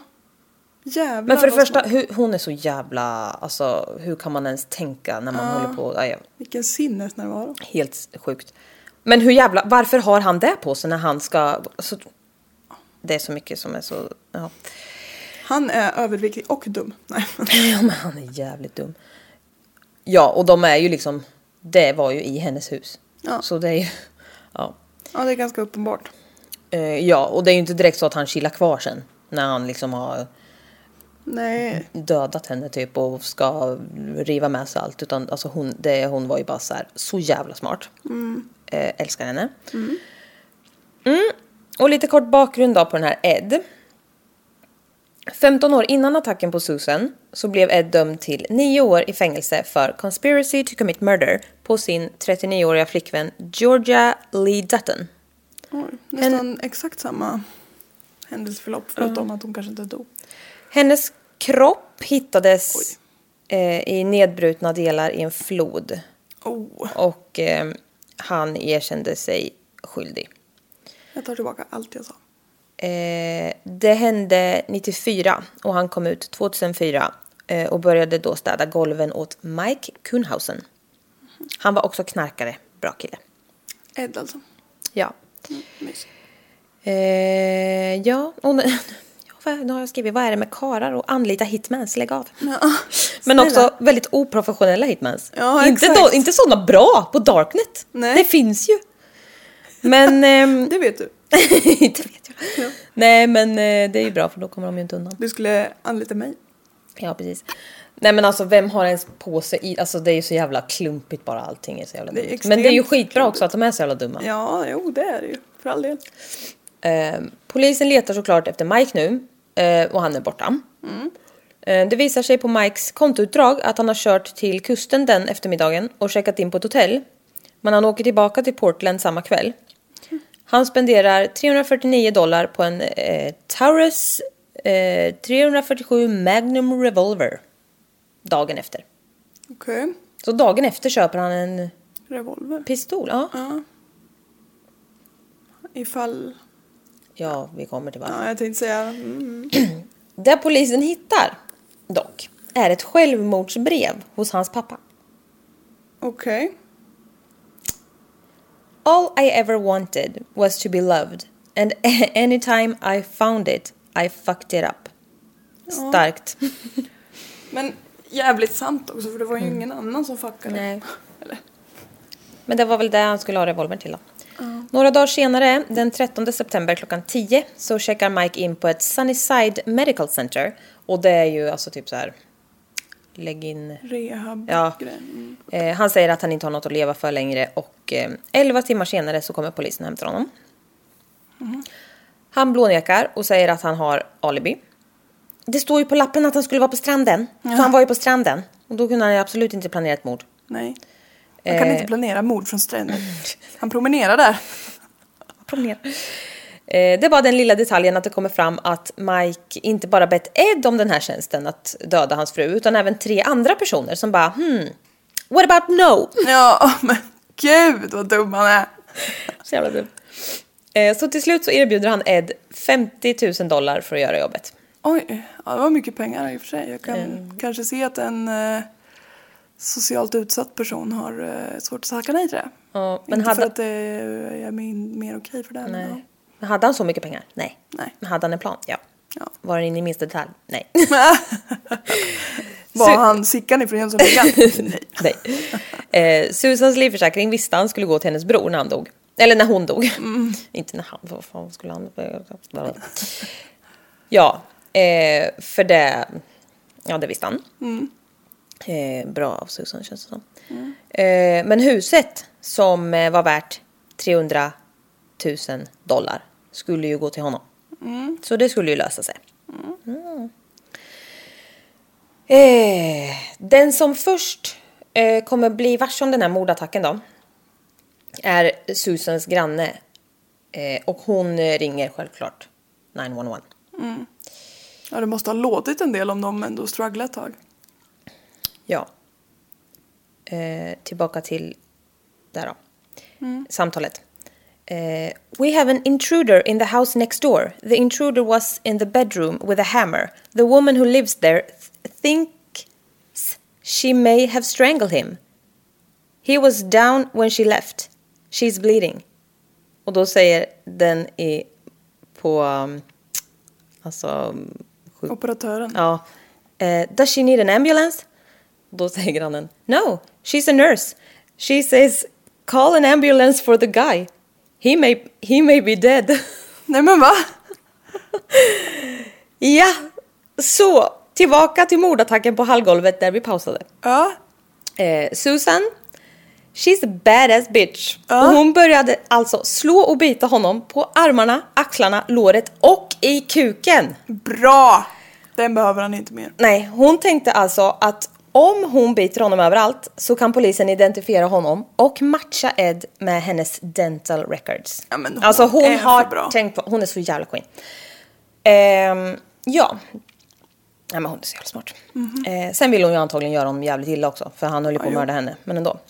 [SPEAKER 2] Jävlar
[SPEAKER 1] Men för det
[SPEAKER 2] vad
[SPEAKER 1] första,
[SPEAKER 2] smart.
[SPEAKER 1] hur, hon är så jävla, alltså hur kan man ens tänka när man håller på, aj,
[SPEAKER 2] Vilken sinnesnärvaro.
[SPEAKER 1] helt sjukt. Men hur jävla, varför har han det på sig när han ska, alltså, det är så mycket som är så, ja.
[SPEAKER 2] Han är överviktig och dum. <laughs> Nej men.
[SPEAKER 1] ja men han är jävligt dum. Ja och de är ju liksom, det var ju i hennes hus.
[SPEAKER 2] Ja.
[SPEAKER 1] Så det är ju, ja.
[SPEAKER 2] Ja det är ganska uppenbart.
[SPEAKER 1] Eh, ja och det är ju inte direkt så att han chillar kvar sen. När han liksom har
[SPEAKER 2] Nej.
[SPEAKER 1] dödat henne typ och ska riva med sig allt. Utan alltså hon, det, hon var ju bara så här, så jävla smart. Eh, älskar henne. Mm. Och lite kort bakgrund då på den här Ed. 15 år innan attacken på Susan så blev Ed dömd till 9 år i fängelse för conspiracy to commit murder på sin 39-åriga flickvän Georgia Lee Dutton.
[SPEAKER 2] Oj, nästan exakt samma händelseförlopp förutom att hon kanske inte dog.
[SPEAKER 1] Hennes kropp hittades eh, i nedbrutna delar i en flod.
[SPEAKER 2] Oh,
[SPEAKER 1] Och eh, han erkände sig skyldig.
[SPEAKER 2] jag tar tillbaka allt jag sa.
[SPEAKER 1] Eh, det hände 94 och han kom ut 2004 eh, och började då städa golven åt Mike Kuhnhausen. Han var också knarkare, bra kille.
[SPEAKER 2] Ed alltså. Mm,
[SPEAKER 1] Ja.
[SPEAKER 2] Mys.
[SPEAKER 1] Eh, ja, och, nu- <laughs> ja, vad- nu har jag skrivit vad är det med karar och anlita hitmans, lägg av. Men också väldigt oprofessionella hitmans.
[SPEAKER 2] Ja,
[SPEAKER 1] inte,
[SPEAKER 2] exakt.
[SPEAKER 1] då, inte sådana bra på Darknet.
[SPEAKER 2] Nej.
[SPEAKER 1] Det finns ju. Men... ehm,
[SPEAKER 2] Det vet du.
[SPEAKER 1] <laughs> inte vet jag. Nej men eh, det är ju bra för då kommer de ju inte undan.
[SPEAKER 2] Du skulle anlita mig.
[SPEAKER 1] Ja precis. Nej men alltså vem har ens på sig i, alltså det är ju så jävla klumpigt bara allting är så jävla
[SPEAKER 2] Det är
[SPEAKER 1] dumt. Men det är ju
[SPEAKER 2] extremt
[SPEAKER 1] skitbra också
[SPEAKER 2] klumpigt.
[SPEAKER 1] att de är så jävla dumma.
[SPEAKER 2] Ja, jo det är det ju. För all del.
[SPEAKER 1] Eh, polisen letar såklart efter Mike nu eh, och han är borta. Eh, det visar sig på Mikes kontoutdrag att han har kört till kusten den eftermiddagen och checkat in på ett hotell. Men han åker tillbaka till Portland samma kväll. Han spenderar 349 dollar på en eh, Taurus eh, 347 Magnum Revolver dagen efter.
[SPEAKER 2] Okej.
[SPEAKER 1] Så dagen efter köper han en
[SPEAKER 2] Revolver.
[SPEAKER 1] pistol. Ja,
[SPEAKER 2] Ja. Ifall...
[SPEAKER 1] ja vi kommer till varför.
[SPEAKER 2] Ja, jag tänkte säga... Mm.
[SPEAKER 1] Det polisen hittar dock är ett självmordsbrev hos hans pappa.
[SPEAKER 2] Okej.
[SPEAKER 1] All I ever wanted was to be loved and <laughs> any time I found it I fucked it up. Starkt.
[SPEAKER 2] Men jävligt sant också för det var ju ingen annan som fuckade.
[SPEAKER 1] Nej.
[SPEAKER 2] Eller?
[SPEAKER 1] Men det var väl det han skulle ha revolvern till då. Några dagar senare, den 13 september klockan 10, så checkar Mike in på ett Sunnyside Medical Center. Och det är ju alltså typ så här... Lägg in...
[SPEAKER 2] Rehab
[SPEAKER 1] Ja.
[SPEAKER 2] grej. Mm.
[SPEAKER 1] Eh, han säger att han inte har något att leva för längre och eh, 11 timmar senare så kommer polisen och hämtar honom.
[SPEAKER 2] Mm.
[SPEAKER 1] Han blånekar och säger att han har alibi. Det står ju på lappen att han skulle vara på stranden. Så han var ju på stranden. Och då kunde han ju absolut inte planera ett mord.
[SPEAKER 2] Nej. Man kan inte planera mord från stränder. Han promenerar där.
[SPEAKER 1] Promenera. Eh, det var den lilla detaljen att det kommer fram att Mike inte bara bett Ed om den här tjänsten att döda hans fru utan även tre andra personer som bara hmm, what about no?
[SPEAKER 2] Ja, men gud vad dum han är.
[SPEAKER 1] Så jävla dumt. Eh, Så till slut så erbjuder han Ed 50 000 dollar för att göra jobbet.
[SPEAKER 2] Oj, ja, det var mycket pengar i och för sig. Jag kan
[SPEAKER 1] Mm.
[SPEAKER 2] kanske se att en eh, socialt utsatt person har eh, svårt att tacka nej till det.
[SPEAKER 1] Ja, men
[SPEAKER 2] inte
[SPEAKER 1] hade-
[SPEAKER 2] för att det är min, mer okej för det. men
[SPEAKER 1] Nej. Men hade han så mycket pengar? Nej.
[SPEAKER 2] Nej.
[SPEAKER 1] Men hade han en plan? Ja.
[SPEAKER 2] Ja.
[SPEAKER 1] Var den inne i minsta detalj? Nej.
[SPEAKER 2] Ja. Var
[SPEAKER 1] Så-
[SPEAKER 2] han Sickan ifrån Jönssonligan?
[SPEAKER 1] <laughs>
[SPEAKER 2] nej.
[SPEAKER 1] Nej. Eh, Susans livförsäkring visste han skulle gå till hennes bror när han dog. Eller när hon dog. Inte när han, vad fan skulle han... ja, eh, för det... Ja, det visste han. Eh, bra av Susan känns det som. Eh, men huset som eh, var värt 300 000 dollar skulle ju gå till honom. Så det skulle ju lösa sig. Eh, den som först eh, kommer bli varse om den här mordattacken då är Susans granne. Eh, och hon eh, ringer självklart 911.
[SPEAKER 2] Ja, det måste ha låtit en del om de ändå strugglade ett tag.
[SPEAKER 1] Ja. Eh, tillbaka till där då. Samtalet. Eh, we have an intruder in the house next door. The intruder was in the bedroom with a hammer. The woman who lives there th- thinks she may have strangled him. He was down when she left. She's bleeding. Och då säger den i på um, alltså um, sjuk-
[SPEAKER 2] Operatören.
[SPEAKER 1] Ja. Eh, does she need an ambulance? Då säger grannen. No, she's a nurse. She says call an ambulance for the guy. He may, he may be dead. <laughs>
[SPEAKER 2] Nej men va?
[SPEAKER 1] ja, så tillbaka till mordattacken på hallgolvet där vi pausade.
[SPEAKER 2] Ja.
[SPEAKER 1] Eh, Susan, she's a badass bitch. Och hon började alltså slå och bita honom på armarna, axlarna, låret och i kuken.
[SPEAKER 2] Bra! Den behöver han inte mer.
[SPEAKER 1] Nej, hon tänkte alltså att om hon biter honom överallt så kan polisen identifiera honom och matcha Ed med hennes dental records.
[SPEAKER 2] Ja, men hon
[SPEAKER 1] alltså hon
[SPEAKER 2] är för
[SPEAKER 1] har
[SPEAKER 2] bra.
[SPEAKER 1] tänkt på, hon är så jävla queen. Ehm, ja. Nej men hon är så jävla smart.
[SPEAKER 2] Mhm.
[SPEAKER 1] Eh, sen vill hon ju antagligen göra honom jävligt illa också för han höll ju på att mörda henne, men ändå.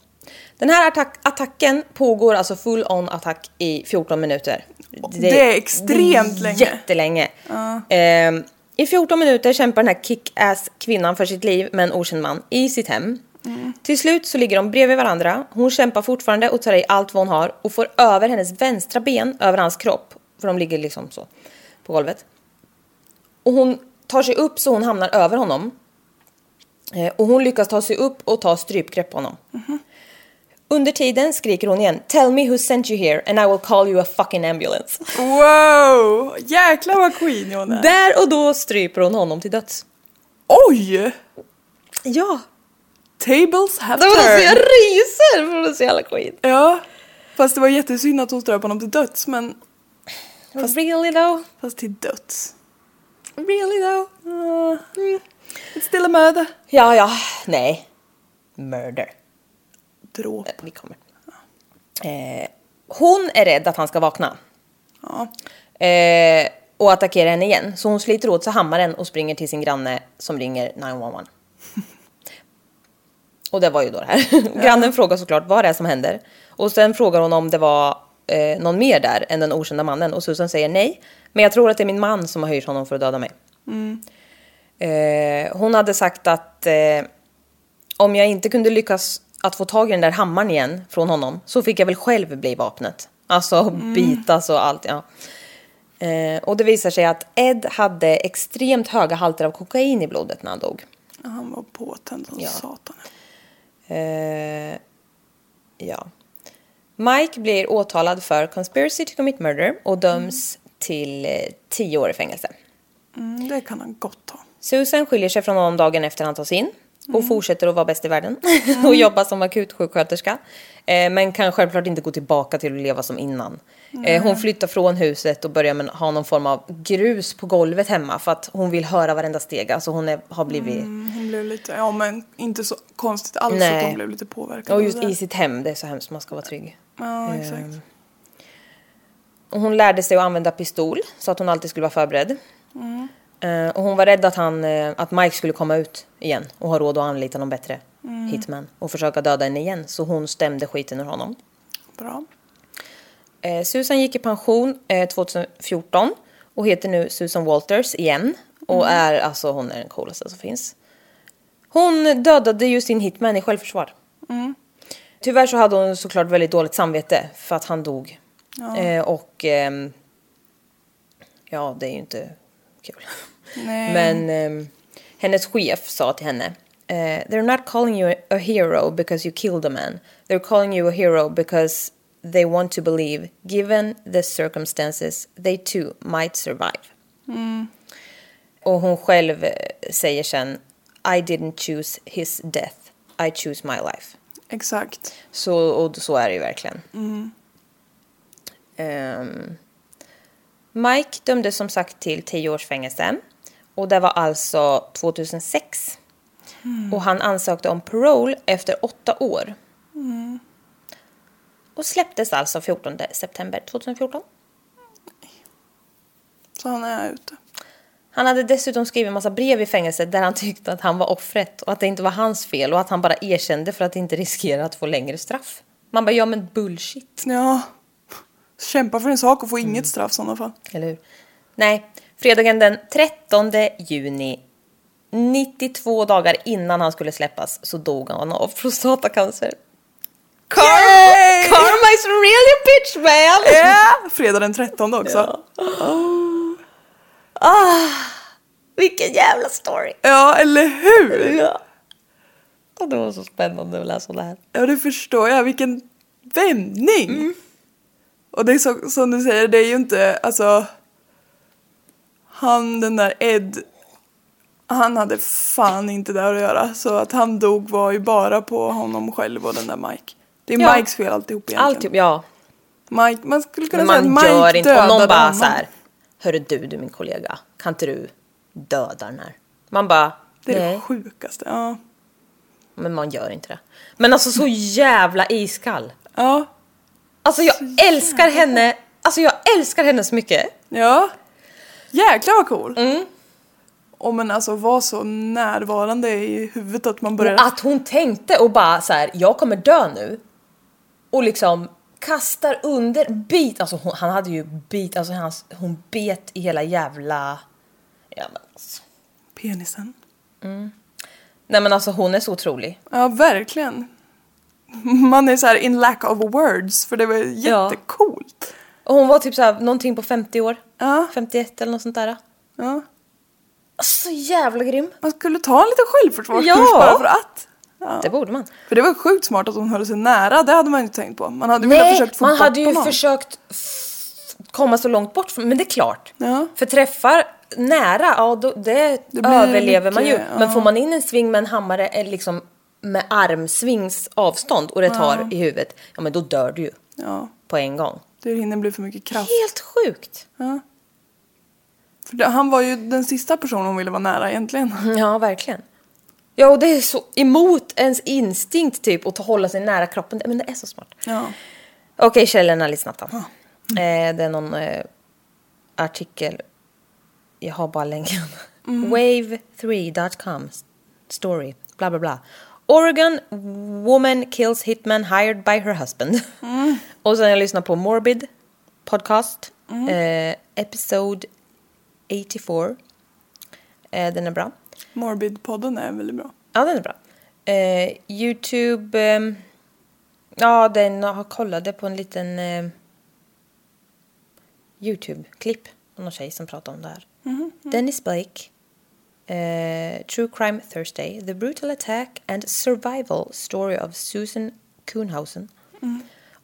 [SPEAKER 1] Den här attack- attacken pågår alltså full on attack i 14 minuter.
[SPEAKER 2] Det är extremt länge.
[SPEAKER 1] Jättelänge. Ehm, I 14 minuter kämpar den här kick-ass kvinnan för sitt liv med en okänd man i sitt hem.
[SPEAKER 2] Mm.
[SPEAKER 1] Till slut så ligger de bredvid varandra. Hon kämpar fortfarande och tar i allt vad hon har och får över hennes vänstra ben över hans kropp. För de ligger liksom så på golvet. Och hon tar sig upp så hon hamnar över honom. Eh, Och hon lyckas ta sig upp och ta strypgrepp på honom. Under tiden skriker hon igen “Tell me who sent you here and I will call you a fucking ambulance”.
[SPEAKER 2] Wow! Jäklar vad queen hon är.
[SPEAKER 1] Där och då stryper hon honom till döds.
[SPEAKER 2] Oj!
[SPEAKER 1] Ja!
[SPEAKER 2] Tables have
[SPEAKER 1] Det var alltså, jag
[SPEAKER 2] turned.
[SPEAKER 1] ryser för det är så jävla queen.
[SPEAKER 2] Ja. Fast det var jättesynd att hon ströp honom till döds men
[SPEAKER 1] Really though?
[SPEAKER 2] fast till döds.
[SPEAKER 1] Really though?
[SPEAKER 2] Uh, mm. It's still a murder.
[SPEAKER 1] Ja, ja, nej. Murder.
[SPEAKER 2] Dråp.
[SPEAKER 1] Vi kommer. Eh, hon är rädd att han ska vakna.
[SPEAKER 2] Ja.
[SPEAKER 1] Eh, och attackera henne igen. Så hon sliter åt sig hammaren och springer till sin granne som ringer 911. och det var ju då det här. Grannen frågar såklart vad det är som händer. Och sen frågar hon om det var eh, någon mer där än den okända mannen. Och Susan säger nej. Men jag tror att det är min man som har hyrt honom för att döda mig. Eh, hon hade sagt att eh, om jag inte kunde lyckas att få tag i den där hammaren igen från honom så fick jag väl själv bli vapnet. Alltså bitas och allt. Ja. Eh, och det visar sig att Ed hade extremt höga halter av kokain i blodet när han dog.
[SPEAKER 2] Ja, Han var påtänd som
[SPEAKER 1] Ja.
[SPEAKER 2] satan.
[SPEAKER 1] Eh, ja. Mike blir åtalad för conspiracy to commit murder och döms till eh, 10 år i fängelse.
[SPEAKER 2] Mm, det kan han gott ha.
[SPEAKER 1] Susan skiljer sig från honom dagen efter han tas in och fortsätter att vara bäst i världen <laughs> och jobba som akutsjuksköterska. Eh, men kan självklart inte gå tillbaka till att leva som innan. Eh, hon flyttar från huset och börjar med, ha någon form av grus på golvet hemma för att hon vill höra varenda steg. Alltså hon är, har blivit...
[SPEAKER 2] Mm, Hon blev lite, ja men inte så konstigt alls
[SPEAKER 1] Nej.
[SPEAKER 2] att hon blev lite påverkad.
[SPEAKER 1] Och
[SPEAKER 2] av
[SPEAKER 1] just
[SPEAKER 2] det.
[SPEAKER 1] i sitt hem, det är så hemskt, man ska vara trygg.
[SPEAKER 2] Ja, exakt.
[SPEAKER 1] Och hon lärde sig att använda pistol så att hon alltid skulle vara förberedd. Eh, och hon var rädd att, han, eh, att Mike skulle komma ut igen och ha råd att anlita någon bättre hitman och försöka döda henne igen. Så hon stämde skiten ur honom.
[SPEAKER 2] Bra.
[SPEAKER 1] Eh, Susan gick i pension eh, 2014 och heter nu Susan Walters igen. Och är alltså, hon är den coolaste som finns. Hon dödade ju sin hitman i självförsvar. Tyvärr så hade hon såklart väldigt dåligt samvete för att han dog. Eh, och ehm, ja, det är ju inte kul.
[SPEAKER 2] Nej.
[SPEAKER 1] Men ehm, hennes chef sa till henne eh, They're not calling you a hero because you killed a man. They're calling you a hero because they want to believe given the circumstances they too might survive. Och hon själv eh, säger sen I didn't choose his death. I choose my life.
[SPEAKER 2] Exakt.
[SPEAKER 1] Så, och så är det ju verkligen. Ehm, Mike dömdes som sagt till 10 års fängelse. Och det var alltså 2006. Och han ansökte om parole efter åtta år. Och släpptes alltså 14 september 2014.
[SPEAKER 2] Så han är ute.
[SPEAKER 1] Han hade dessutom skrivit massa brev i fängelset där han tyckte att han var offret och att det inte var hans fel och att han bara erkände för att inte riskera att få längre straff. Man bara, ja men bullshit.
[SPEAKER 2] Ja. Kämpa för en sak och få inget straff i sådana fall.
[SPEAKER 1] Eller hur? Nej, fredagen den 13 juni, 92 dagar innan han skulle släppas, så dog han av prostatacancer. Karma,
[SPEAKER 2] Yay!
[SPEAKER 1] karma is really a bitch man!
[SPEAKER 2] Ja! Fredag den 13 också.
[SPEAKER 1] <laughs>
[SPEAKER 2] Ja,
[SPEAKER 1] Vilken jävla story!
[SPEAKER 2] eller hur?
[SPEAKER 1] Ja. Och det var så spännande att läsa det här.
[SPEAKER 2] Ja det förstår jag. Vilken vändning.
[SPEAKER 1] Mm.
[SPEAKER 2] Och det är så, som du säger, det är ju inte alltså. Han den där Ed. Han hade fan inte där att göra. Så att han dog var ju bara på honom själv och den där Mike. Det är
[SPEAKER 1] Ja.
[SPEAKER 2] Mikes fel alltihop egentligen.
[SPEAKER 1] Allt, typ, ja.
[SPEAKER 2] Mike, man skulle kunna
[SPEAKER 1] Men man
[SPEAKER 2] säga att
[SPEAKER 1] gör
[SPEAKER 2] Mike
[SPEAKER 1] inte... Och någon
[SPEAKER 2] dödade
[SPEAKER 1] bara
[SPEAKER 2] honom.
[SPEAKER 1] så här, Hörru du, du min kollega, kan inte du döda den här? Man bara,
[SPEAKER 2] Det är
[SPEAKER 1] nej.
[SPEAKER 2] det sjukaste. Ja.
[SPEAKER 1] Men man gör inte det. Men alltså så jävla iskall.
[SPEAKER 2] Ja.
[SPEAKER 1] Alltså jag älskar henne. Alltså jag älskar henne så mycket.
[SPEAKER 2] Ja. Jäklar vad cool. Mm. Och men alltså var så närvarande i huvudet att man börjar...
[SPEAKER 1] Att hon tänkte och bara så här, jag kommer dö nu. Och liksom kastar under, bit, alltså hon, han hade ju bit, alltså hans, hon bet i hela jävla Ja, men alltså.
[SPEAKER 2] Penisen.
[SPEAKER 1] Nej men alltså hon är så otrolig.
[SPEAKER 2] Ja, verkligen. Man är så här in lack of words för det var jättecoolt.
[SPEAKER 1] Och hon var typ såhär någonting på 50 år.
[SPEAKER 2] Ja.
[SPEAKER 1] 51 eller något sånt där. Alltså,
[SPEAKER 2] Ja.
[SPEAKER 1] Så jävla grym.
[SPEAKER 2] Man skulle ta en liten självförsvarskurs
[SPEAKER 1] Ja.
[SPEAKER 2] bara för att.
[SPEAKER 1] Det borde man.
[SPEAKER 2] För det var sjukt smart att hon höll sig nära, det hade man ju inte tänkt på. Man hade ju velat
[SPEAKER 1] Nej,
[SPEAKER 2] försökt få
[SPEAKER 1] man
[SPEAKER 2] bort
[SPEAKER 1] hade ju
[SPEAKER 2] honom.
[SPEAKER 1] försökt f- komma så långt bort från, men det är klart.
[SPEAKER 2] Ja.
[SPEAKER 1] För träffar nära, ja då, det,
[SPEAKER 2] Det blir
[SPEAKER 1] överlever man ju.
[SPEAKER 2] mycket, ja.
[SPEAKER 1] Men får man in en sving med en hammare eh, liksom med armsvings avstånd och det tar i huvudet, ja men då dör du ju
[SPEAKER 2] Ja,
[SPEAKER 1] på en gång.
[SPEAKER 2] det hinner bli för mycket kraft.
[SPEAKER 1] Helt sjukt!
[SPEAKER 2] För det, han var ju den sista personen hon ville vara
[SPEAKER 1] <laughs>
[SPEAKER 2] nära egentligen.
[SPEAKER 1] Ja, verkligen. Ja, och det är så emot ens instinkt typ att ta- hålla sig nära kroppen. Men det är så smart.
[SPEAKER 2] Ja.
[SPEAKER 1] Okej, källorna lite snabbt då. Eh, det är någon eh, artikel. Jag har bara länken. Wave3.com s- story. Bla bla bla. Oregon woman kills hitman hired by her husband. <laughs> Och sen har jag lyssnat på Morbid podcast. Eh, episode 84. Eh, den är bra.
[SPEAKER 2] Morbid-podden är väldigt bra.
[SPEAKER 1] Ja, den är bra. Eh, Youtube... ehm, ja, den har kollade på en liten eh, Youtube-klipp. av Någon tjej som pratade om det här. Dennis Blake. eh, True Crime Thursday. The Brutal Attack and Survival Story of Susan Kuhnhausen.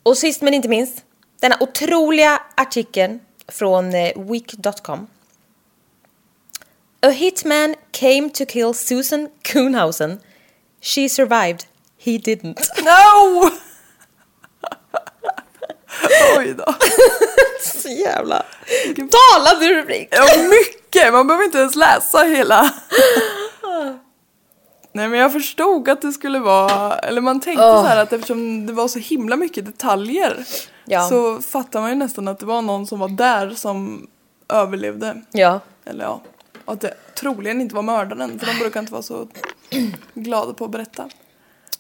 [SPEAKER 1] Och sist men inte minst. Denna otroliga artikeln från eh, week.com. A hitman came to kill Susan Kuhnhausen. She survived. He
[SPEAKER 2] <laughs>
[SPEAKER 1] didn't.
[SPEAKER 2] No! Oj då.
[SPEAKER 1] Så jävla talande rubrik!
[SPEAKER 2] Ja, mycket! Man behöver inte ens läsa hela. Nej men jag förstod att det skulle vara, eller man tänkte så här att eftersom det var så himla mycket detaljer
[SPEAKER 1] Ja.
[SPEAKER 2] så fattar man ju nästan att det var någon som var där som överlevde.
[SPEAKER 1] Ja.
[SPEAKER 2] Eller ja, och att det troligen inte var mördaren för de brukar inte vara så glada på att berätta.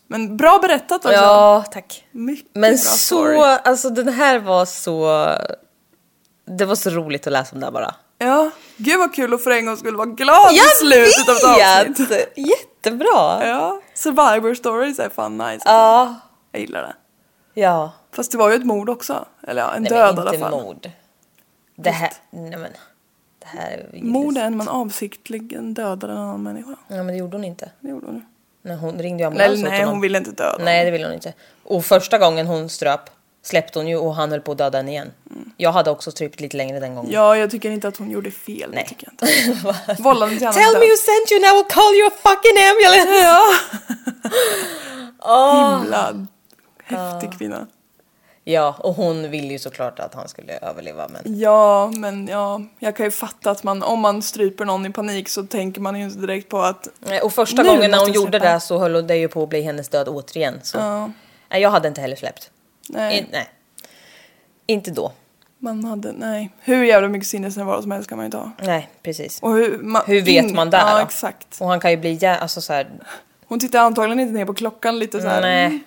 [SPEAKER 2] Men bra berättat också.
[SPEAKER 1] Ja, tack.
[SPEAKER 2] Mycket bra
[SPEAKER 1] Men
[SPEAKER 2] story.
[SPEAKER 1] så, alltså den här var så... Det var så roligt att läsa om det här bara.
[SPEAKER 2] Ja, gud vad kul att för en gång skulle vara glad i slutet av ett avsnitt.
[SPEAKER 1] vet! Jättebra! Ja.
[SPEAKER 2] Ja, survivor stories är fan nice. alltså.
[SPEAKER 1] ja.
[SPEAKER 2] Jag gillar det.
[SPEAKER 1] ja.
[SPEAKER 2] Fast det var ju ett mord också. Eller ja, en
[SPEAKER 1] Nej,
[SPEAKER 2] död i
[SPEAKER 1] men
[SPEAKER 2] alla
[SPEAKER 1] inte
[SPEAKER 2] fall.
[SPEAKER 1] mord. Det här... Nej men. Det här... är ju-
[SPEAKER 2] Mord är när man avsiktligen dödar en annan människa.
[SPEAKER 1] Ja men det gjorde hon inte.
[SPEAKER 2] Det gjorde hon nu.
[SPEAKER 1] Nej, hon ringde ju
[SPEAKER 2] Eller
[SPEAKER 1] ambulans åt
[SPEAKER 2] nej,
[SPEAKER 1] honom.
[SPEAKER 2] hon ville inte döda honom.
[SPEAKER 1] Nej, det ville hon inte. Och första gången hon ströp släppte hon ju och han höll på att döda henne igen. Jag hade också strypt lite längre den gången.
[SPEAKER 2] Mm. Ja, jag tycker inte att hon gjorde fel. Nej.
[SPEAKER 1] Nej.
[SPEAKER 2] Det tycker jag
[SPEAKER 1] <laughs>
[SPEAKER 2] inte. Vållande till annan
[SPEAKER 1] Tell
[SPEAKER 2] död.
[SPEAKER 1] me who sent you and I will call you a fucking ambulance!
[SPEAKER 2] Ja. Himla häftig kvinna.
[SPEAKER 1] Ja, och hon ville ju såklart att han skulle överleva men...
[SPEAKER 2] Ja, men ja, jag kan ju fatta att man, om man stryper någon i panik så tänker man ju inte direkt på att
[SPEAKER 1] Nej, Och första
[SPEAKER 2] Nu
[SPEAKER 1] gången när hon
[SPEAKER 2] måste jag
[SPEAKER 1] gjorde
[SPEAKER 2] släppa.
[SPEAKER 1] det så höll hon- det ju på att bli hennes död återigen. Så.
[SPEAKER 2] Ja.
[SPEAKER 1] Nej, jag hade inte heller släppt.
[SPEAKER 2] nej,
[SPEAKER 1] In, nej. Inte då.
[SPEAKER 2] man hade, nej. Hur jävla mycket sinnesnärvaro som helst kan man ju ta.
[SPEAKER 1] Nej, precis.
[SPEAKER 2] Och hur, man,
[SPEAKER 1] Hur vet
[SPEAKER 2] in-
[SPEAKER 1] man där
[SPEAKER 2] Ja,
[SPEAKER 1] då?
[SPEAKER 2] exakt.
[SPEAKER 1] Och han kan ju bli jä- alltså så här,
[SPEAKER 2] Hon tittar antagligen inte ner på klockan lite så här.
[SPEAKER 1] Nej.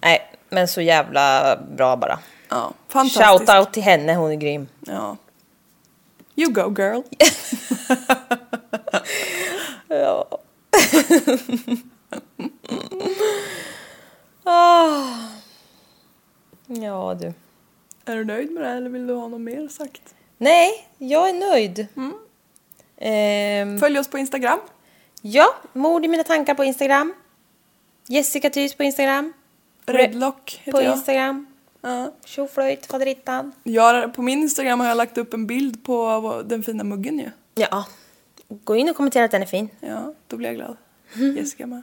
[SPEAKER 1] Nej, men så jävla bra bara.
[SPEAKER 2] Ja, fantastiskt.
[SPEAKER 1] Shout out till henne, hon är grym.
[SPEAKER 2] Ja. You go girl.
[SPEAKER 1] Ja. <laughs> Ah. Ja du.
[SPEAKER 2] Är du nöjd med det här, eller vill du ha något mer sagt?
[SPEAKER 1] Nej, jag är nöjd.
[SPEAKER 2] Mm.
[SPEAKER 1] Ehm,
[SPEAKER 2] Följ oss på Instagram.
[SPEAKER 1] ja, mord i mina tankar på Instagram. Jessica Thys på Instagram.
[SPEAKER 2] Redlock heter
[SPEAKER 1] På
[SPEAKER 2] jag.
[SPEAKER 1] Instagram.
[SPEAKER 2] Ja.
[SPEAKER 1] Tjoflöjt, faderittan.
[SPEAKER 2] jag. På min Instagram har jag lagt upp en bild på vår- den fina muggen ju.
[SPEAKER 1] Ja. Gå in och kommentera att den är fin.
[SPEAKER 2] Ja, då blir
[SPEAKER 1] <laughs>
[SPEAKER 2] jag glad. Jessica med.